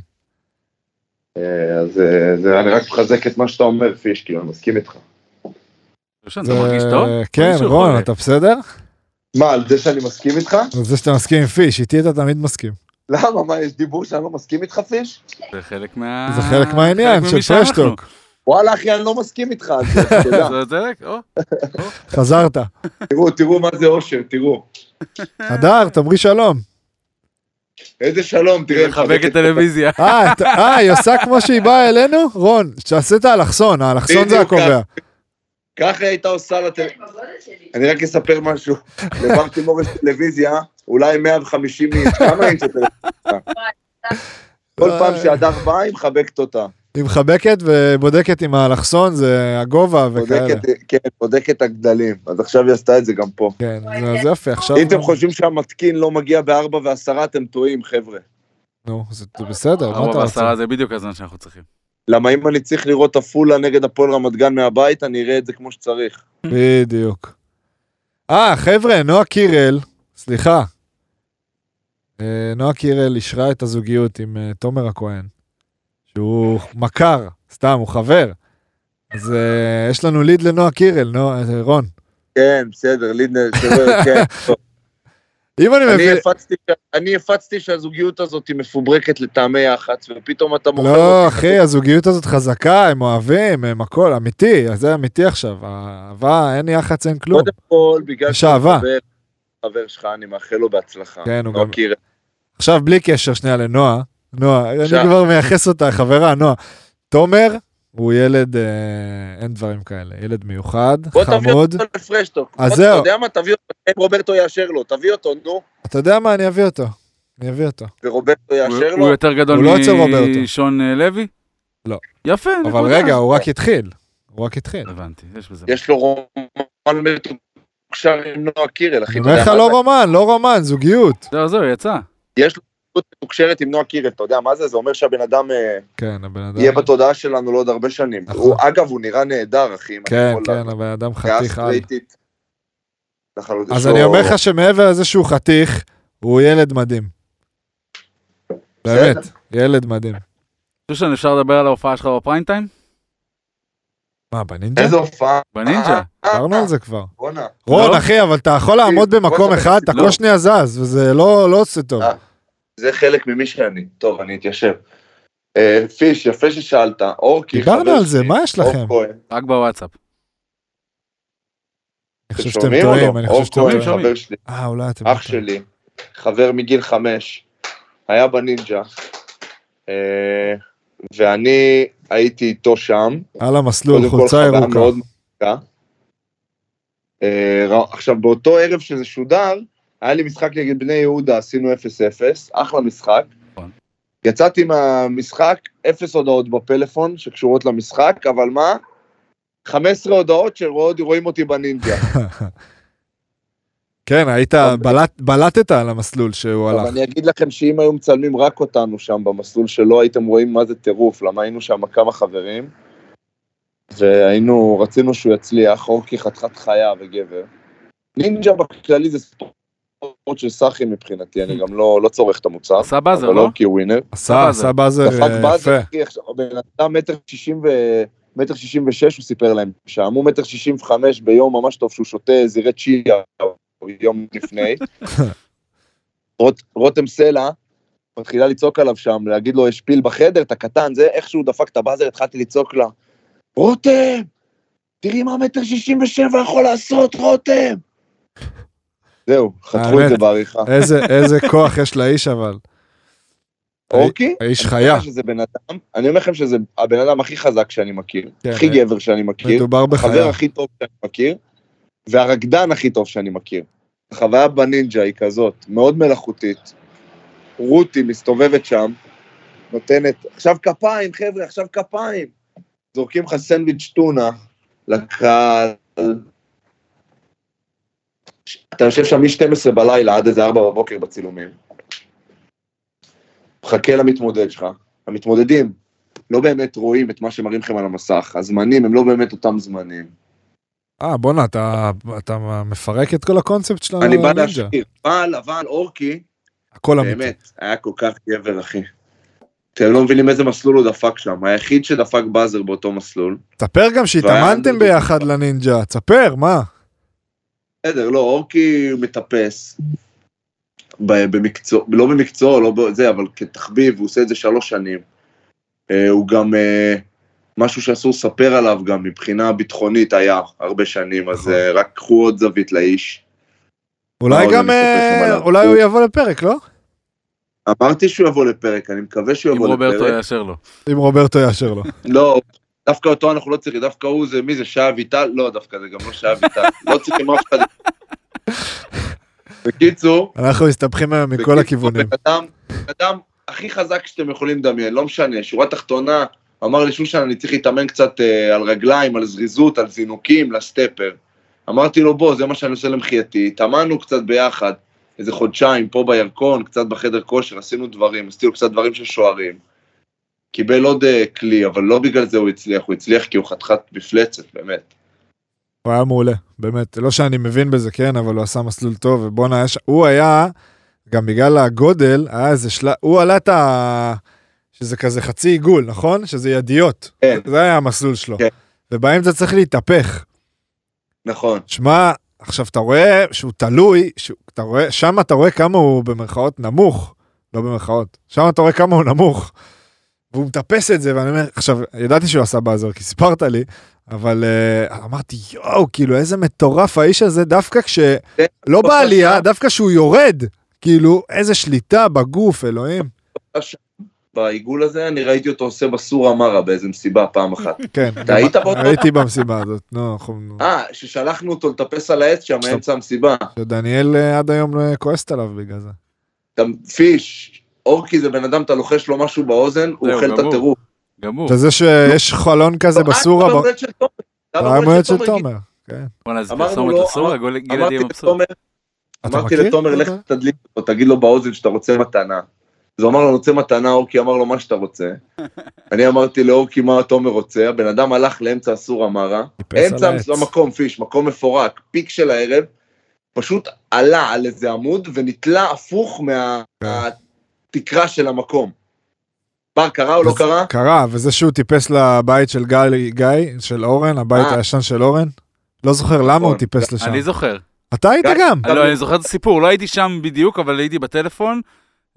Speaker 2: אה, אז אה, זה- אני רק מחזק את מה שאתה אומר, פיש, כאילו, אני מסכים איתך.
Speaker 4: שושן,
Speaker 3: זה-
Speaker 4: אתה מרגיש טוב?
Speaker 3: כן,
Speaker 4: מרגיש שהוא
Speaker 3: רון,
Speaker 4: חולה.
Speaker 3: אתה בסדר?
Speaker 2: מה, על זה שאני מסכים איתך?
Speaker 3: על זה שאתה מסכים עם פיש, איתי אתה תמיד מסכים.
Speaker 2: למה? מה, יש דיבור שאני לא מסכים איתך, פיש?
Speaker 4: זה חלק מה...
Speaker 3: זה חלק מהעניין
Speaker 4: חלק
Speaker 3: של
Speaker 4: ממי שאנחנו.
Speaker 3: פרשטוק.
Speaker 2: וואלה, אחי, אני לא מסכים איתך על זה, אתה יודע.
Speaker 4: זה צודק, או.
Speaker 3: חזרת.
Speaker 2: תראו, תראו מה זה אושר, תראו.
Speaker 3: הדר, תאמרי שלום.
Speaker 2: איזה שלום, תראה.
Speaker 4: לחבק את טלוויזיה.
Speaker 3: אה, את- אה, היא עושה כמו שהיא באה אלינו? רון, תעשה את האלכסון, האלכסון זה
Speaker 2: בדיוק
Speaker 3: הקובע.
Speaker 2: ככה היא הייתה עושה לטל...
Speaker 1: בגודל שלי.
Speaker 2: אני רק אספר משהו. לבר תימור יש טלוויזיה, אולי 150 אינץ', כמה אינץ' הטלוויזיה? כן. כל
Speaker 3: אה.
Speaker 2: פעם שהדר באה, היא מחבקת אותה.
Speaker 3: היא מחבקת ובודקת עם האלכסון, זה הגובה וכאלה.
Speaker 2: בודקת, כן, בודקת הגדלים. אז עכשיו היא עשתה את זה גם פה.
Speaker 3: כן, זה- זה יפה, עכשיו...
Speaker 2: אם אתם חושבים שהמתקין לא מגיע בארבע ועשרה, אתם טועים, חבר'ה.
Speaker 3: נו, זה זה בסדר, מה
Speaker 4: ארבע
Speaker 3: אתה רוצה?
Speaker 4: ועשרה זה בדיוק הזמן שאנחנו צריכים.
Speaker 2: למה אם אני צריך לראות עפולה נגד הפועל רמת גן מהבית, אני אראה את זה כמו שצריך.
Speaker 3: בדיוק. אה, חבר'ה, נועה קירל, סליחה. אה, נועה קירל אישרה את הזוגיות עם אה, תומר הכהן, שהוא מכר, סתם, הוא חבר. אז אה, יש לנו ליד לנועה קירל, נועה, אה, רון.
Speaker 2: כן, בסדר, לידנר, שלא- כן, טוב.
Speaker 3: אם אני
Speaker 2: אני
Speaker 3: מבין...
Speaker 2: הפצתי ש- אני הפצתי שהזוגיות הזאת היא מפוברקת לטעמי יח"צ, ופתאום אתה מוכר...
Speaker 3: לא,
Speaker 2: אותי.
Speaker 3: אחי, הזוגיות הזאת חזקה, הם אוהבים, הם הכל, אמיתי, אז זה אמיתי עכשיו. האהבה, אין יח"צ, אין כלום.
Speaker 2: קודם כל, בגלל
Speaker 3: יש אהבה.
Speaker 2: חבר- חבר שלך, אני מאחל לו בהצלחה.
Speaker 3: כן, הוא
Speaker 2: לא
Speaker 3: גם-
Speaker 2: מכיר.
Speaker 3: עכשיו, בלי קשר שנייה לנועה, נועה, אני
Speaker 2: עכשיו.
Speaker 3: כבר מייחס אותה, חברה, נועה. תומר הוא ילד, אה, אין דברים כאלה, ילד מיוחד,
Speaker 2: בוא תביא
Speaker 3: חמוד.
Speaker 2: אותו לפרשטוק.
Speaker 3: אז
Speaker 2: בוא,
Speaker 3: זהו.
Speaker 2: אתה יודע מה? תביא אותו, אם רוברטו יאשר לו, תביא אותו, נו.
Speaker 3: אתה יודע מה, אני אביא אותו. אני אביא אותו.
Speaker 2: ורוברטו יאשר
Speaker 4: הוא-
Speaker 2: לו.
Speaker 4: הוא יותר גדול
Speaker 3: הוא לא אצל רוברטו.
Speaker 4: משון אה, לוי?
Speaker 3: לא.
Speaker 4: יפה, נקודה.
Speaker 3: אבל רגע, הוא רק התחיל. הוא רק התחיל.
Speaker 4: כן, הבנתי, יש בזה.
Speaker 2: יש לו רומן מתוקשר עם נועה קירל, אחי.
Speaker 3: אני
Speaker 2: אתה
Speaker 3: אומר
Speaker 2: יודע
Speaker 3: לך,
Speaker 2: מה
Speaker 3: לא
Speaker 2: זה?
Speaker 3: רומן, לא רומן, זוגיות.
Speaker 4: זהו, זהו, יצא.
Speaker 2: יש לו התעסקות מתוקשרת עם נועה קירל, אתה יודע מה זה? זה אומר שהבן אדם אה,
Speaker 3: כן, הבן אדם...
Speaker 2: יהיה בתודעה שלנו לעוד הרבה שנים.
Speaker 3: נכון.
Speaker 2: הוא, אגב, הוא נראה נאדר, אחי. אם אני
Speaker 3: כן,
Speaker 2: יכול
Speaker 3: כן, הבן אדם
Speaker 2: לה-
Speaker 3: חתיך על.
Speaker 2: אסטרייטית. לחלוטין.
Speaker 3: אז
Speaker 2: יש לו-
Speaker 3: אני אומר לך שמעבר לזה שהוא חתיך, הוא ילד מדהים. באמת, ילד מדהים.
Speaker 4: שושן, אפשר לדבר על ההופעה שלך בפריים טיים?
Speaker 3: מה, בנינג'ה?
Speaker 2: איזה הופעה. אה,
Speaker 4: בנינג'ה.
Speaker 3: דיברנו על זה כבר.
Speaker 2: בואנה.
Speaker 3: רון, אחי, אבל אתה יכול לעמוד
Speaker 2: בוא
Speaker 3: במקום
Speaker 2: נדבר.
Speaker 3: אחד, אתה
Speaker 4: לא.
Speaker 3: כל שנייה זז, וזה לא לא עושה טוב.
Speaker 2: אה. זה חלק ממי שאני. טוב, אני אתיישב. אה, פיש, יפה ששאלת. אורקי,
Speaker 3: דיברנו
Speaker 2: חבר
Speaker 3: על זה,
Speaker 2: שלי,
Speaker 3: מה יש
Speaker 2: אור
Speaker 3: לכם?
Speaker 2: כהן.
Speaker 4: רק בוואטסאפ.
Speaker 2: אה,
Speaker 3: אני חושב שאתם
Speaker 2: שומעים או
Speaker 3: טועים,
Speaker 2: לא?
Speaker 3: אני
Speaker 2: אור
Speaker 3: חושב שאתם
Speaker 2: כהן,
Speaker 3: טועים.
Speaker 4: שומעים.
Speaker 2: חבר שלי,
Speaker 3: אה, אולי אתם...
Speaker 2: אח שלי, חבר מגיל חמש, היה בנינג'ה, אה, ואני הייתי איתו שם.
Speaker 3: על המסלול,
Speaker 2: קודם כל,
Speaker 3: חולצה
Speaker 2: חוויה
Speaker 3: ירוקה.
Speaker 2: מאוד מצחיקה. אה, ר- עכשיו, באותו ערב שזה שודר, היה לי משחק נגד בני יהודה, עשינו 0-0, אחלה משחק.
Speaker 4: נכון.
Speaker 2: יצאתי מהמשחק, אפס הודעות בפלאפון שקשורות למשחק, אבל מה? 15 הודעות שרואים אותי בנינג'ה.
Speaker 3: כן, היית, בלט- בלטת על המסלול שהוא
Speaker 2: אוקיי. אבל
Speaker 3: הלך.
Speaker 2: אני אגיד לכם שאם היו מצלמים רק אותנו שם במסלול שלא הייתם רואים מה זה טירוף, למה היינו שם כמה חברים, והיינו, רצינו שהוא יצליח, אורקי חתיכת חיה וגבר. נינג'ה בכללי זה ספורט של סאחי מבחינתי, אני גם לא, לא צורך את המוצר,
Speaker 4: עשה באזר,
Speaker 2: אבל
Speaker 4: לא?
Speaker 2: אורקי ווינר.
Speaker 3: עשה,
Speaker 4: באזר.
Speaker 3: עשה באזר
Speaker 2: דפק
Speaker 3: אה,
Speaker 2: באזר,
Speaker 3: יפה.
Speaker 2: אחי, עכשיו, הבן אדם מטר שישים ו... מטר שישים ושש, הוא סיפר להם שם, הוא מטר שישים וחמש ביום ממש טוב שהוא שותה זירי צ'יה יום לפני. רוט, רותם סלע מתחילה לצעוק עליו שם, להגיד לו, יש פיל בחדר, אתה קטן, זה איך שהוא דפק את הבאזר, התחלתי לצעוק לה, רותם, תראי מה מטר שישים ושבע יכול לעשות, רותם. זהו, חתכו את
Speaker 3: האמת.
Speaker 2: זה בעריכה.
Speaker 3: איזה, איזה כוח יש לאיש אבל.
Speaker 2: אורקי?
Speaker 3: האיש
Speaker 2: אני
Speaker 3: חיה.
Speaker 2: אומר שזה בן אדם, אני אומר לכם שזה הבן אדם הכי חזק שאני מכיר,
Speaker 3: כן,
Speaker 2: הכי
Speaker 3: אה,
Speaker 2: גבר שאני מכיר,
Speaker 3: מדובר
Speaker 2: החבר
Speaker 3: בחיה.
Speaker 2: הכי טוב שאני מכיר, והרקדן הכי טוב שאני מכיר. החוויה בנינג'ה היא כזאת, מאוד מלאכותית. רותי מסתובבת שם, נותנת, עכשיו כפיים, חבר'ה, עכשיו כפיים. זורקים לך סנדוויץ' טונה לקהל. אתה יושב שם מ-12 בלילה עד איזה 4 בבוקר בצילומים. מחכה למתמודד שלך. המתמודדים לא באמת רואים את מה שמראים לכם על המסך. הזמנים הם לא באמת אותם זמנים.
Speaker 3: אה, בואנה, אתה, אתה מפרק את כל הקונספט שלנו.
Speaker 2: אני בא
Speaker 3: לנינג'ה.
Speaker 2: להשאיר. אבל, אבל, אורקי,
Speaker 3: הכל אמיתי.
Speaker 2: באמת, היה כל כך גבר, אחי. אתם לא מבינים איזה מסלול הוא דפק שם. היחיד שדפק באזר באותו מסלול.
Speaker 3: תספר גם שהתאמנתם
Speaker 2: והיה-
Speaker 3: ביחד לנינג'ה, תספר, מה?
Speaker 2: בסדר, לא, אורקי מטפס. ב- במקצוע, לא במקצוע, לא בזה, אבל כתחביב, הוא עושה את זה שלוש שנים. אה, הוא גם, אה, משהו שאסור לספר עליו גם מבחינה ביטחונית היה הרבה שנים, אז
Speaker 3: נכון.
Speaker 2: אה, רק קחו עוד זווית לאיש.
Speaker 3: אולי
Speaker 2: מאוד
Speaker 3: גם,
Speaker 2: אני מסתכל
Speaker 3: אה,
Speaker 2: שם עליו.
Speaker 3: אולי הוא יבוא לפרק, לא?
Speaker 2: אמרתי שהוא יבוא לפרק, אני מקווה שהוא
Speaker 4: אם
Speaker 2: יבוא
Speaker 4: רוברטו
Speaker 2: לפרק.
Speaker 4: יאשר לו.
Speaker 3: אם רוברטו יאשר לו.
Speaker 2: לא, דווקא אותו אנחנו לא צריכים, דווקא הוא זה, מי זה, שי אביטל? לא, דווקא זה גם לא שי אביטל. לא צריכים אף אחד. בקיצור,
Speaker 3: אנחנו מסתבכים היום מכל
Speaker 2: בקיצור,
Speaker 3: הכיוונים.
Speaker 2: בן אדם, בן אדם הכי חזק שאתם יכולים לדמיין, לא משנה, שורה תחתונה, אמר לי שושן, אני צריך להתאמן קצת אה, על רגליים, על זריזות, על זינוקים, לסטפר. אמרתי לו, בוא, זה מה שאני עושה למחייתי, התאמנו קצת ביחד, איזה חודשיים, פה בירקון, קצת בחדר כושר, עשינו דברים, עשינו קצת דברים של שוערים. קיבל עוד אה, כלי, אבל לא בגלל זה הוא הצליח, הוא הצליח כי הוא חתיכת מפלצת, באמת.
Speaker 3: הוא היה מעולה, באמת. לא שאני מבין בזה, כן, אבל הוא עשה מסלול טוב, ובואנה, יש... הוא היה, גם בגלל הגודל, היה איזה שלב, הוא עלה את ה... שזה כזה חצי עיגול, נכון? שזה ידיות.
Speaker 2: כן.
Speaker 3: זה היה המסלול שלו.
Speaker 2: כן.
Speaker 3: ובאמצע צריך להתהפך.
Speaker 2: נכון.
Speaker 3: שמע, עכשיו אתה רואה שהוא תלוי, שהוא, אתה רואה, שם אתה רואה כמה הוא במרכאות נמוך, לא במרכאות, שם אתה רואה כמה הוא נמוך. והוא מטפס את זה, ואני אומר, עכשיו, ידעתי שהוא עשה באזר, כי סיפרת לי, אבל uh, אמרתי, יואו, כאילו, איזה מטורף האיש הזה, דווקא כש...
Speaker 2: כן,
Speaker 3: לא בעלייה,
Speaker 2: שם.
Speaker 3: דווקא שהוא יורד, כאילו, איזה שליטה בגוף, אלוהים.
Speaker 2: בעיגול הזה, אני ראיתי אותו עושה בסורה מרה באיזה מסיבה פעם אחת.
Speaker 3: כן,
Speaker 2: אתה היית באותו-
Speaker 3: הייתי במסיבה הזאת, נו, אנחנו...
Speaker 2: אה, ששלחנו אותו לטפס על העץ שם,
Speaker 3: עכשיו-
Speaker 2: מאמצע המסיבה.
Speaker 3: שדניאל אה, עד היום אה, כועסת עליו בגלל זה.
Speaker 2: אתה פיש, אורקי זה בן אדם, אתה לוחש לו משהו באוזן, הוא
Speaker 4: זהו,
Speaker 2: אוכל את
Speaker 4: גמור.
Speaker 2: הטירוף.
Speaker 4: גמור.
Speaker 3: וזה שיש חלון כזה
Speaker 2: לא, אה,
Speaker 3: בסורה,
Speaker 2: זה
Speaker 3: ב-
Speaker 2: המולדת של תומר.
Speaker 3: זה
Speaker 2: זה המולדת
Speaker 3: היום הולדת של
Speaker 2: גיל-
Speaker 3: תומר. כן.
Speaker 4: בואנה, זה
Speaker 2: אמרנו
Speaker 4: פרסומת
Speaker 2: לו,
Speaker 4: אסורה,
Speaker 2: אמר-
Speaker 4: גול- גלעד
Speaker 2: אמרתי
Speaker 4: יהיה מבסוט.
Speaker 2: לתומר,
Speaker 3: אתה
Speaker 2: אמרתי
Speaker 3: מכיר?
Speaker 2: לתומר, לך תדליק אותו, תגיד לו באוזן שאתה רוצה מתנה. אז הוא אמר לו, אני רוצה מתנה, אורקי אמר לו, מה שאתה רוצה. אני אמרתי לאורקי, מה תומר רוצה? הבן אדם הלך לאמצע הסור המרה,
Speaker 3: טיפס על
Speaker 2: אמצע
Speaker 3: העץ.
Speaker 2: המקום, פיש, לא מקום מפורק, פיק של הערב, פשוט עלה על איזה עמוד ונתלה הפוך
Speaker 3: אה.
Speaker 2: מהתקרה של המקום. בר קרה או לא
Speaker 3: וזה-
Speaker 2: קרה?
Speaker 3: קרה, וזה שהוא טיפס לבית של גיא, גיא, של אורן, הבית
Speaker 2: אה.
Speaker 3: הישן של אורן. לא זוכר למה הוא
Speaker 2: נכון.
Speaker 3: טיפס לשם.
Speaker 4: אני זוכר.
Speaker 3: אתה היית
Speaker 2: גיא, אה,
Speaker 3: גם.
Speaker 4: לא, אני זוכר את הסיפור, לא הייתי שם בדיוק, אבל הייתי בטלפון.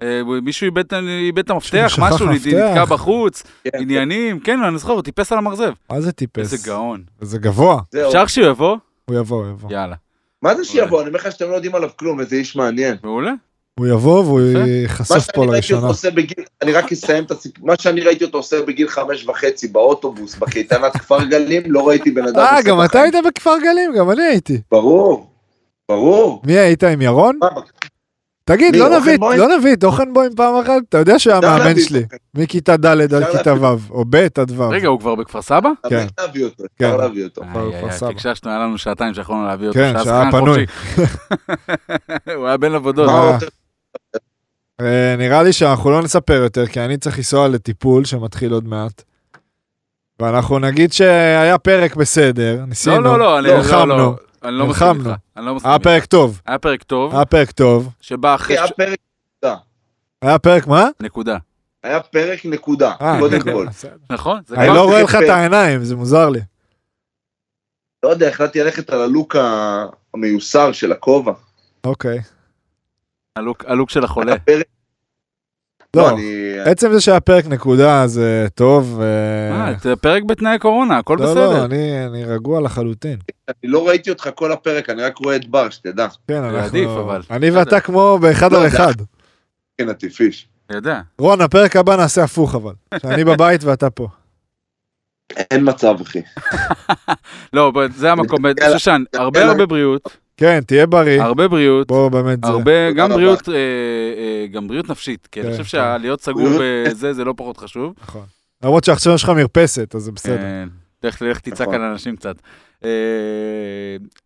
Speaker 4: אה, מישהו איבד את ה- איבד את המפתח,
Speaker 3: שכח
Speaker 4: משהו
Speaker 3: מפתח.
Speaker 4: נתקע בחוץ,
Speaker 2: כן,
Speaker 4: עניינים, כן, אני זוכר, הוא טיפס על המרזב.
Speaker 3: מה זה טיפס?
Speaker 4: איזה גאון.
Speaker 3: זה גבוה.
Speaker 2: כן, זהו.
Speaker 4: אפשר שהוא יבוא?
Speaker 3: הוא יבוא, הוא יבוא.
Speaker 4: יאללה.
Speaker 2: מה זה שיבוא? אני אומר לך שאתם לא יודעים עליו כלום, איזה איש מעניין.
Speaker 4: מעולה.
Speaker 3: הוא יבוא והוא
Speaker 4: יפה.
Speaker 2: מה
Speaker 3: ייחשף פה לא
Speaker 2: שאני ראיתי
Speaker 3: לראשונה.
Speaker 2: אותו עושה בגיל, אני רק אסיים את הסיפור, מה שאני ראיתי אותו עושה בגיל חמש וחצי באוטובוס, בקייטנת כפר גלים, לא ראיתי בן אדם
Speaker 3: אה,
Speaker 2: עושה
Speaker 3: גם אתה
Speaker 2: בחיים.
Speaker 3: היית בכפר גלים, גם אני הייתי.
Speaker 2: ברור, ברור.
Speaker 3: מי היית עם ירון?
Speaker 2: מה,
Speaker 3: תגיד,
Speaker 2: אה, מי,
Speaker 3: לא
Speaker 2: אוכן
Speaker 3: נביט,
Speaker 2: בוים? לא
Speaker 3: לא נביט, אוכנבוים פעם אחת, אתה יודע שהוא היה
Speaker 2: אפשר
Speaker 3: מאמן
Speaker 2: להביא
Speaker 3: שלי,
Speaker 2: אותו,
Speaker 3: מכיתה ד' עד
Speaker 2: אפשר
Speaker 3: כיתה ו', או ב' עד ו'.
Speaker 4: רגע, הוא כבר בכפר סבא?
Speaker 2: אפשר
Speaker 3: כן.
Speaker 2: להביא אותו,
Speaker 3: כן.
Speaker 2: אפשר להביא אותו.
Speaker 4: איי,
Speaker 3: כבר
Speaker 4: איי,
Speaker 3: בכפר
Speaker 4: איי,
Speaker 3: סבא.
Speaker 4: פיקששנו, היה לנו שעתיים שיכולנו להביא אותו.
Speaker 3: כן,
Speaker 4: שעה
Speaker 3: שהיה
Speaker 4: שחקן
Speaker 3: פנוי.
Speaker 4: חופשי. הוא היה בין עבודות. לא,
Speaker 2: מה
Speaker 3: אה.
Speaker 2: עוד?
Speaker 3: אה, נראה לי שאנחנו לא נספר יותר, כי אני צריך לנסוע לטיפול שמתחיל עוד מעט. ואנחנו נגיד שהיה פרק בסדר, ניסינו,
Speaker 4: לא, לא, לא, אני לא,
Speaker 3: נלחמנו.
Speaker 4: לא, אני לא מסכים איתך.
Speaker 3: נלחמנו.
Speaker 4: אני לא מסכים
Speaker 3: היה
Speaker 4: איתך.
Speaker 3: פרק טוב,
Speaker 4: היה פרק טוב,
Speaker 3: היה פרק טוב.
Speaker 4: שבא אחרי...
Speaker 2: היה
Speaker 4: ש-
Speaker 2: פרק נקודה,
Speaker 3: היה פרק, מה?
Speaker 4: נקודה.
Speaker 2: היה פרק נקודה,
Speaker 3: אה,
Speaker 2: קודם
Speaker 3: כן,
Speaker 2: כל.
Speaker 3: בסדר.
Speaker 4: נכון? זה
Speaker 3: אני
Speaker 4: כבר-
Speaker 3: לא
Speaker 2: פרק
Speaker 3: רואה לך את
Speaker 2: פרק.
Speaker 3: העיניים, זה מוזר לי.
Speaker 2: לא יודע, החלטתי ללכת על הלוק ה- המיוסר של הכובע.
Speaker 3: אוקיי.
Speaker 4: הלוק- הלוק של החולה.
Speaker 2: הפרק-
Speaker 3: לא,
Speaker 2: לא, אני...
Speaker 3: עצם זה שהיה פרק נקודה זה טוב. אה,
Speaker 4: מה, זה פרק בתנאי קורונה, הכל
Speaker 3: לא, לא,
Speaker 4: בסדר.
Speaker 3: אני- אני רגוע לחלוטין.
Speaker 2: אני לא ראיתי אותך כל הפרק, אני רק רואה את בר, שתדע.
Speaker 3: כן, אנחנו...
Speaker 4: עדיף, אבל.
Speaker 3: אני
Speaker 4: בסדר.
Speaker 3: ואתה כמו באחד
Speaker 2: לא,
Speaker 3: על
Speaker 2: זה-
Speaker 3: אחד.
Speaker 2: כן, עטיפיש.
Speaker 4: אני יודע.
Speaker 3: רון, הפרק הבא נעשה הפוך אבל. שאני בבית ואתה פה.
Speaker 2: אין מצב, אחי.
Speaker 4: לא, אבל זה המקום.
Speaker 2: יאללה.
Speaker 4: שושן, הרבה
Speaker 2: יאללה.
Speaker 4: הרבה בריאות,
Speaker 3: כן, תהיה בריא.
Speaker 4: הרבה בריאות,
Speaker 3: בוא, באמת זה.
Speaker 4: הרבה, גם
Speaker 2: רבה.
Speaker 4: בריאות, אה, אה, גם בריאות נפשית, כי אני
Speaker 3: כן,
Speaker 4: חושב
Speaker 3: כן.
Speaker 4: שהלהיות סגור בזה, זה לא פחות חשוב.
Speaker 3: נכון. למרות שעכשיו יש לך מרפסת, אז זה בסדר.
Speaker 4: כן, תלך תלך תצעק
Speaker 2: נכון.
Speaker 4: על אנשים קצת. אה,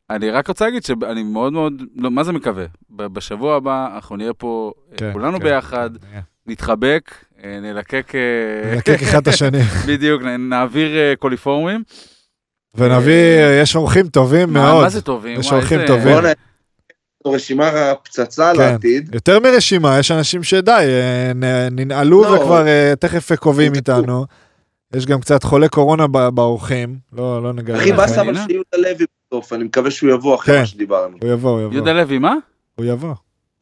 Speaker 4: אני רק רוצה להגיד שאני מאוד מאוד, לא, מה זה מקווה? ב- בשבוע הבא אנחנו נהיה פה אה,
Speaker 3: כן,
Speaker 4: כולנו
Speaker 3: כן,
Speaker 4: ביחד,
Speaker 3: כן, נהיה.
Speaker 4: נתחבק, אה, נלקק, אה,
Speaker 3: נלקק אחד את השני.
Speaker 4: בדיוק, נ- נעביר אה, קוליפורמים.
Speaker 3: ונביא, יש אורחים טובים
Speaker 4: מה-
Speaker 3: מאוד.
Speaker 4: מה זה טובים?
Speaker 3: יש
Speaker 4: וואי,
Speaker 3: אורחים
Speaker 4: איזה-
Speaker 3: טובים.
Speaker 2: בואנה, רשימה הפצצה
Speaker 3: כן.
Speaker 2: לעתיד.
Speaker 3: יותר מרשימה, יש אנשים שדי, אה, נ- ננעלו
Speaker 2: לא.
Speaker 3: וכבר אה, תכף קובעים
Speaker 2: נדחו.
Speaker 3: איתנו. יש גם קצת חולי קורונה ב- באורחים, לא לא נגלה.
Speaker 2: אחי,
Speaker 3: לכם.
Speaker 2: באס אבל
Speaker 4: חנינה?
Speaker 2: שיהודה לוי בסוף, אני מקווה שהוא יבוא אחרי
Speaker 3: כן.
Speaker 2: מה שדיברנו.
Speaker 3: הוא יבוא, הוא יבוא.
Speaker 4: יהודה לוי, מה?
Speaker 3: הוא יבוא.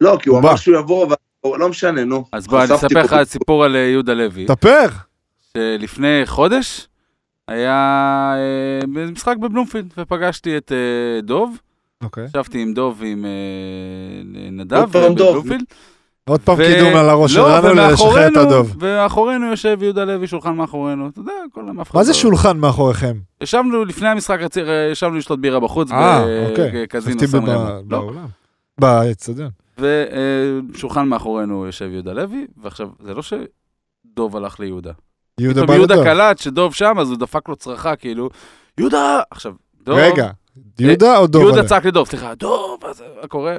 Speaker 2: לא, כי הוא
Speaker 3: הוא בא.
Speaker 2: אמר שהוא יבוא, אבל לא משנה, נו.
Speaker 4: אז בוא, אני
Speaker 2: חשפתי
Speaker 4: אספר
Speaker 2: פה
Speaker 4: לך
Speaker 2: את-
Speaker 4: סיפור על אה, יהודה לוי,
Speaker 3: ספר!
Speaker 4: שלפני חודש היה אה, משחק בבלומפילד, ופגשתי את אה, דוב,
Speaker 3: אוקיי.
Speaker 4: ישבתי עם דוב ועם אה, נדב
Speaker 2: עוד פעם דוב.
Speaker 4: בבלומפילד.
Speaker 3: עוד פעם
Speaker 4: ו-
Speaker 3: קידום על הראש,
Speaker 4: לא,
Speaker 3: שלנו לשחרר את
Speaker 4: ומאחורינו-
Speaker 3: הדוב.
Speaker 4: ומאחורינו יושב יהודה לוי, שולחן מאחורינו, אתה יודע, כל היום אף אחד
Speaker 3: מה זה
Speaker 4: לא-
Speaker 3: שולחן מאחוריכם?
Speaker 4: ישבנו לפני המשחק, רצי- אה, ישבנו לשתות בירה בחוץ,
Speaker 3: אה, אוקיי.
Speaker 4: בקזינו
Speaker 3: חשבתי
Speaker 4: סן
Speaker 3: בב-
Speaker 4: רמו. לא?
Speaker 3: באולם. באצטדיון.
Speaker 4: ושולחן מאחורינו יושב יהודה לוי, ועכשיו, זה לא שדוב הלך ליהודה.
Speaker 3: יהודה
Speaker 4: פתאום
Speaker 3: בא
Speaker 4: יהודה
Speaker 3: לדוב.
Speaker 4: קלט שדוב שם, אז הוא דפק לו צרחה, כאילו, יהודה! עכשיו, דוב,
Speaker 3: רגע, יהודה או דוב?
Speaker 4: לא. יהודה
Speaker 3: עליהם?
Speaker 4: צעק לדוב, סליחה, דוב, אז מה קורה?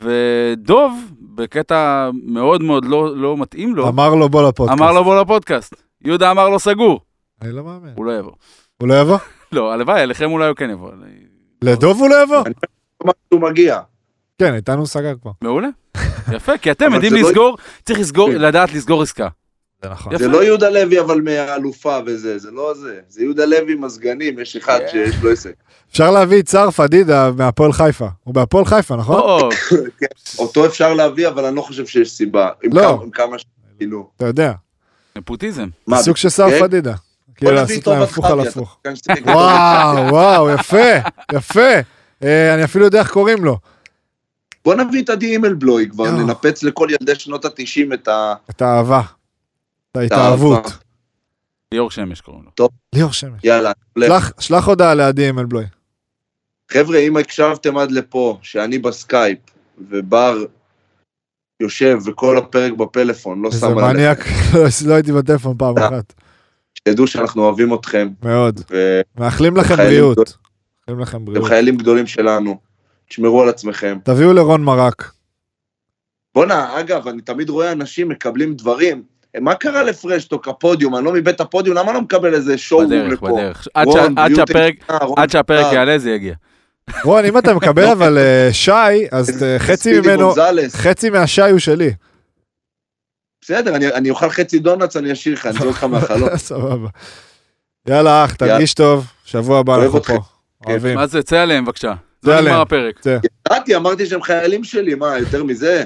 Speaker 4: ודוב, בקטע מאוד מאוד לא לא מתאים לו,
Speaker 3: אמר לו בוא לפודקאסט.
Speaker 4: אמר לו בוא לפודקאסט. יהודה אמר לו סגור,
Speaker 3: אני לא מאמין.
Speaker 4: הוא לא יבוא.
Speaker 3: הוא לא יבוא?
Speaker 4: לא, הלוואי, אליכם אולי הוא כן יבוא. אני-
Speaker 3: לדוב הוא לא יבוא?
Speaker 2: אמר שהוא מגיע.
Speaker 3: כן, איתנו הוא סגר כבר.
Speaker 4: מעולה. יפה, כי אתם
Speaker 2: אבל
Speaker 4: יודעים
Speaker 2: זה לא-
Speaker 4: לסגור, צריך לסגור,
Speaker 2: כן.
Speaker 4: לדעת לסגור עסקה.
Speaker 3: זה נכון.
Speaker 4: יפה.
Speaker 2: זה לא יהודה לוי, אבל מהאלופה וזה, זה לא זה. זה יהודה לוי עם הסגנים, יש אחד
Speaker 4: כן.
Speaker 2: שיש לו עסק.
Speaker 3: אפשר להביא את סער פדידה מהפועל חיפה. הוא בהפועל חיפה, נכון?
Speaker 4: או,
Speaker 2: אותו אפשר להביא, אבל אני לא חושב שיש סיבה. עם
Speaker 3: לא.
Speaker 2: כמה- עם כמה ש... כאילו.
Speaker 3: אתה יודע.
Speaker 4: נפוטיזם.
Speaker 2: מה,
Speaker 3: סוג של סער
Speaker 2: כן?
Speaker 3: פדידה. כאילו
Speaker 2: נביא
Speaker 3: לעשות
Speaker 2: טוב
Speaker 3: להם הפוך על
Speaker 2: אספריה,
Speaker 3: הפוך.
Speaker 2: אתה שחקן ששיחק
Speaker 3: וואו, וואו, יפה, יפה. אה, אני אפילו יודע איך קוראים לו.
Speaker 2: בוא נביא את עדי אימלבלוי כבר,
Speaker 3: יואו.
Speaker 2: ננפץ לכל ילדי שנות התשעים את ה...
Speaker 3: את האהבה. את ההתאהבות.
Speaker 4: ליאור שמש קוראים לו.
Speaker 3: ליאור שמש.
Speaker 2: יאללה.
Speaker 3: שלח- שלח הודעה לעדי אמלבלוי.
Speaker 2: חבר'ה, אם הקשבתם עד לפה, שאני בסקייפ, ובר יושב וכל הפרק בפלאפון, לא
Speaker 3: איזה
Speaker 2: שם עליהם,
Speaker 3: מניאק, לא- לא הייתי בטלפון פעם
Speaker 2: אה.
Speaker 3: אחת.
Speaker 2: שתדעו שאנחנו אוהבים אתכם,
Speaker 3: מאוד.
Speaker 2: ואתם
Speaker 3: מאחלים לכם
Speaker 2: חיילים
Speaker 3: בריאות.
Speaker 2: גדולים.
Speaker 3: מאחלים לכם בריאות.
Speaker 2: חיילים גדולים שלנו, תשמרו על עצמכם.
Speaker 3: תביאו לרון מרק.
Speaker 2: בואנה, אגב, אני תמיד רואה אנשים מקבלים דברים. מה קרה לפרשטוק, הפודיום? אני לא מבית הפודיום, למה לא מקבל איזה שואו
Speaker 4: בדרך,
Speaker 2: לפה?
Speaker 4: בדרך. עד
Speaker 2: רון,
Speaker 4: שה- עד
Speaker 2: ביוטי,
Speaker 4: שהפרק-
Speaker 2: אה, רון,
Speaker 4: עד שהפרק
Speaker 2: אה,
Speaker 4: יעלה זה יגיע.
Speaker 3: רון, אם אתה מקבל אבל אה, שי, אז אה, חצי
Speaker 2: לא. ספידי
Speaker 3: ממנו,
Speaker 2: גונזלס.
Speaker 3: חצי מהשי הוא שלי.
Speaker 2: בסדר, אני- אני אוכל חצי דונלדס, אני אשאיר לך, אני אזרוק לך מהחלום.
Speaker 3: סבבה. יאללה אח,
Speaker 2: אה, לא. יאללה.
Speaker 3: תרגיש טוב, שבוע הבא
Speaker 2: אוהב
Speaker 3: אנחנו
Speaker 2: אתכם. כן.
Speaker 3: פה. אוהבים.
Speaker 4: מה זה, צא עליהם בבקשה.
Speaker 3: צא
Speaker 4: זה
Speaker 3: עליהם.
Speaker 4: נגמר הפרק.
Speaker 2: ידעתי, אמרתי שהם חיילים שלי, מה, יותר מזה?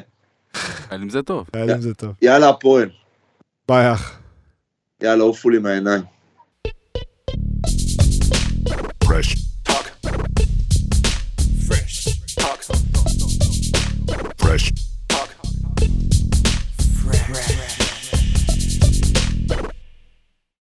Speaker 4: אבל אם זה טוב.
Speaker 3: יאללה, זה טוב.
Speaker 2: יאללה, הפועל.
Speaker 3: ביי אח.
Speaker 2: יאללה, עופו לי מהעיניים.
Speaker 1: Fresh.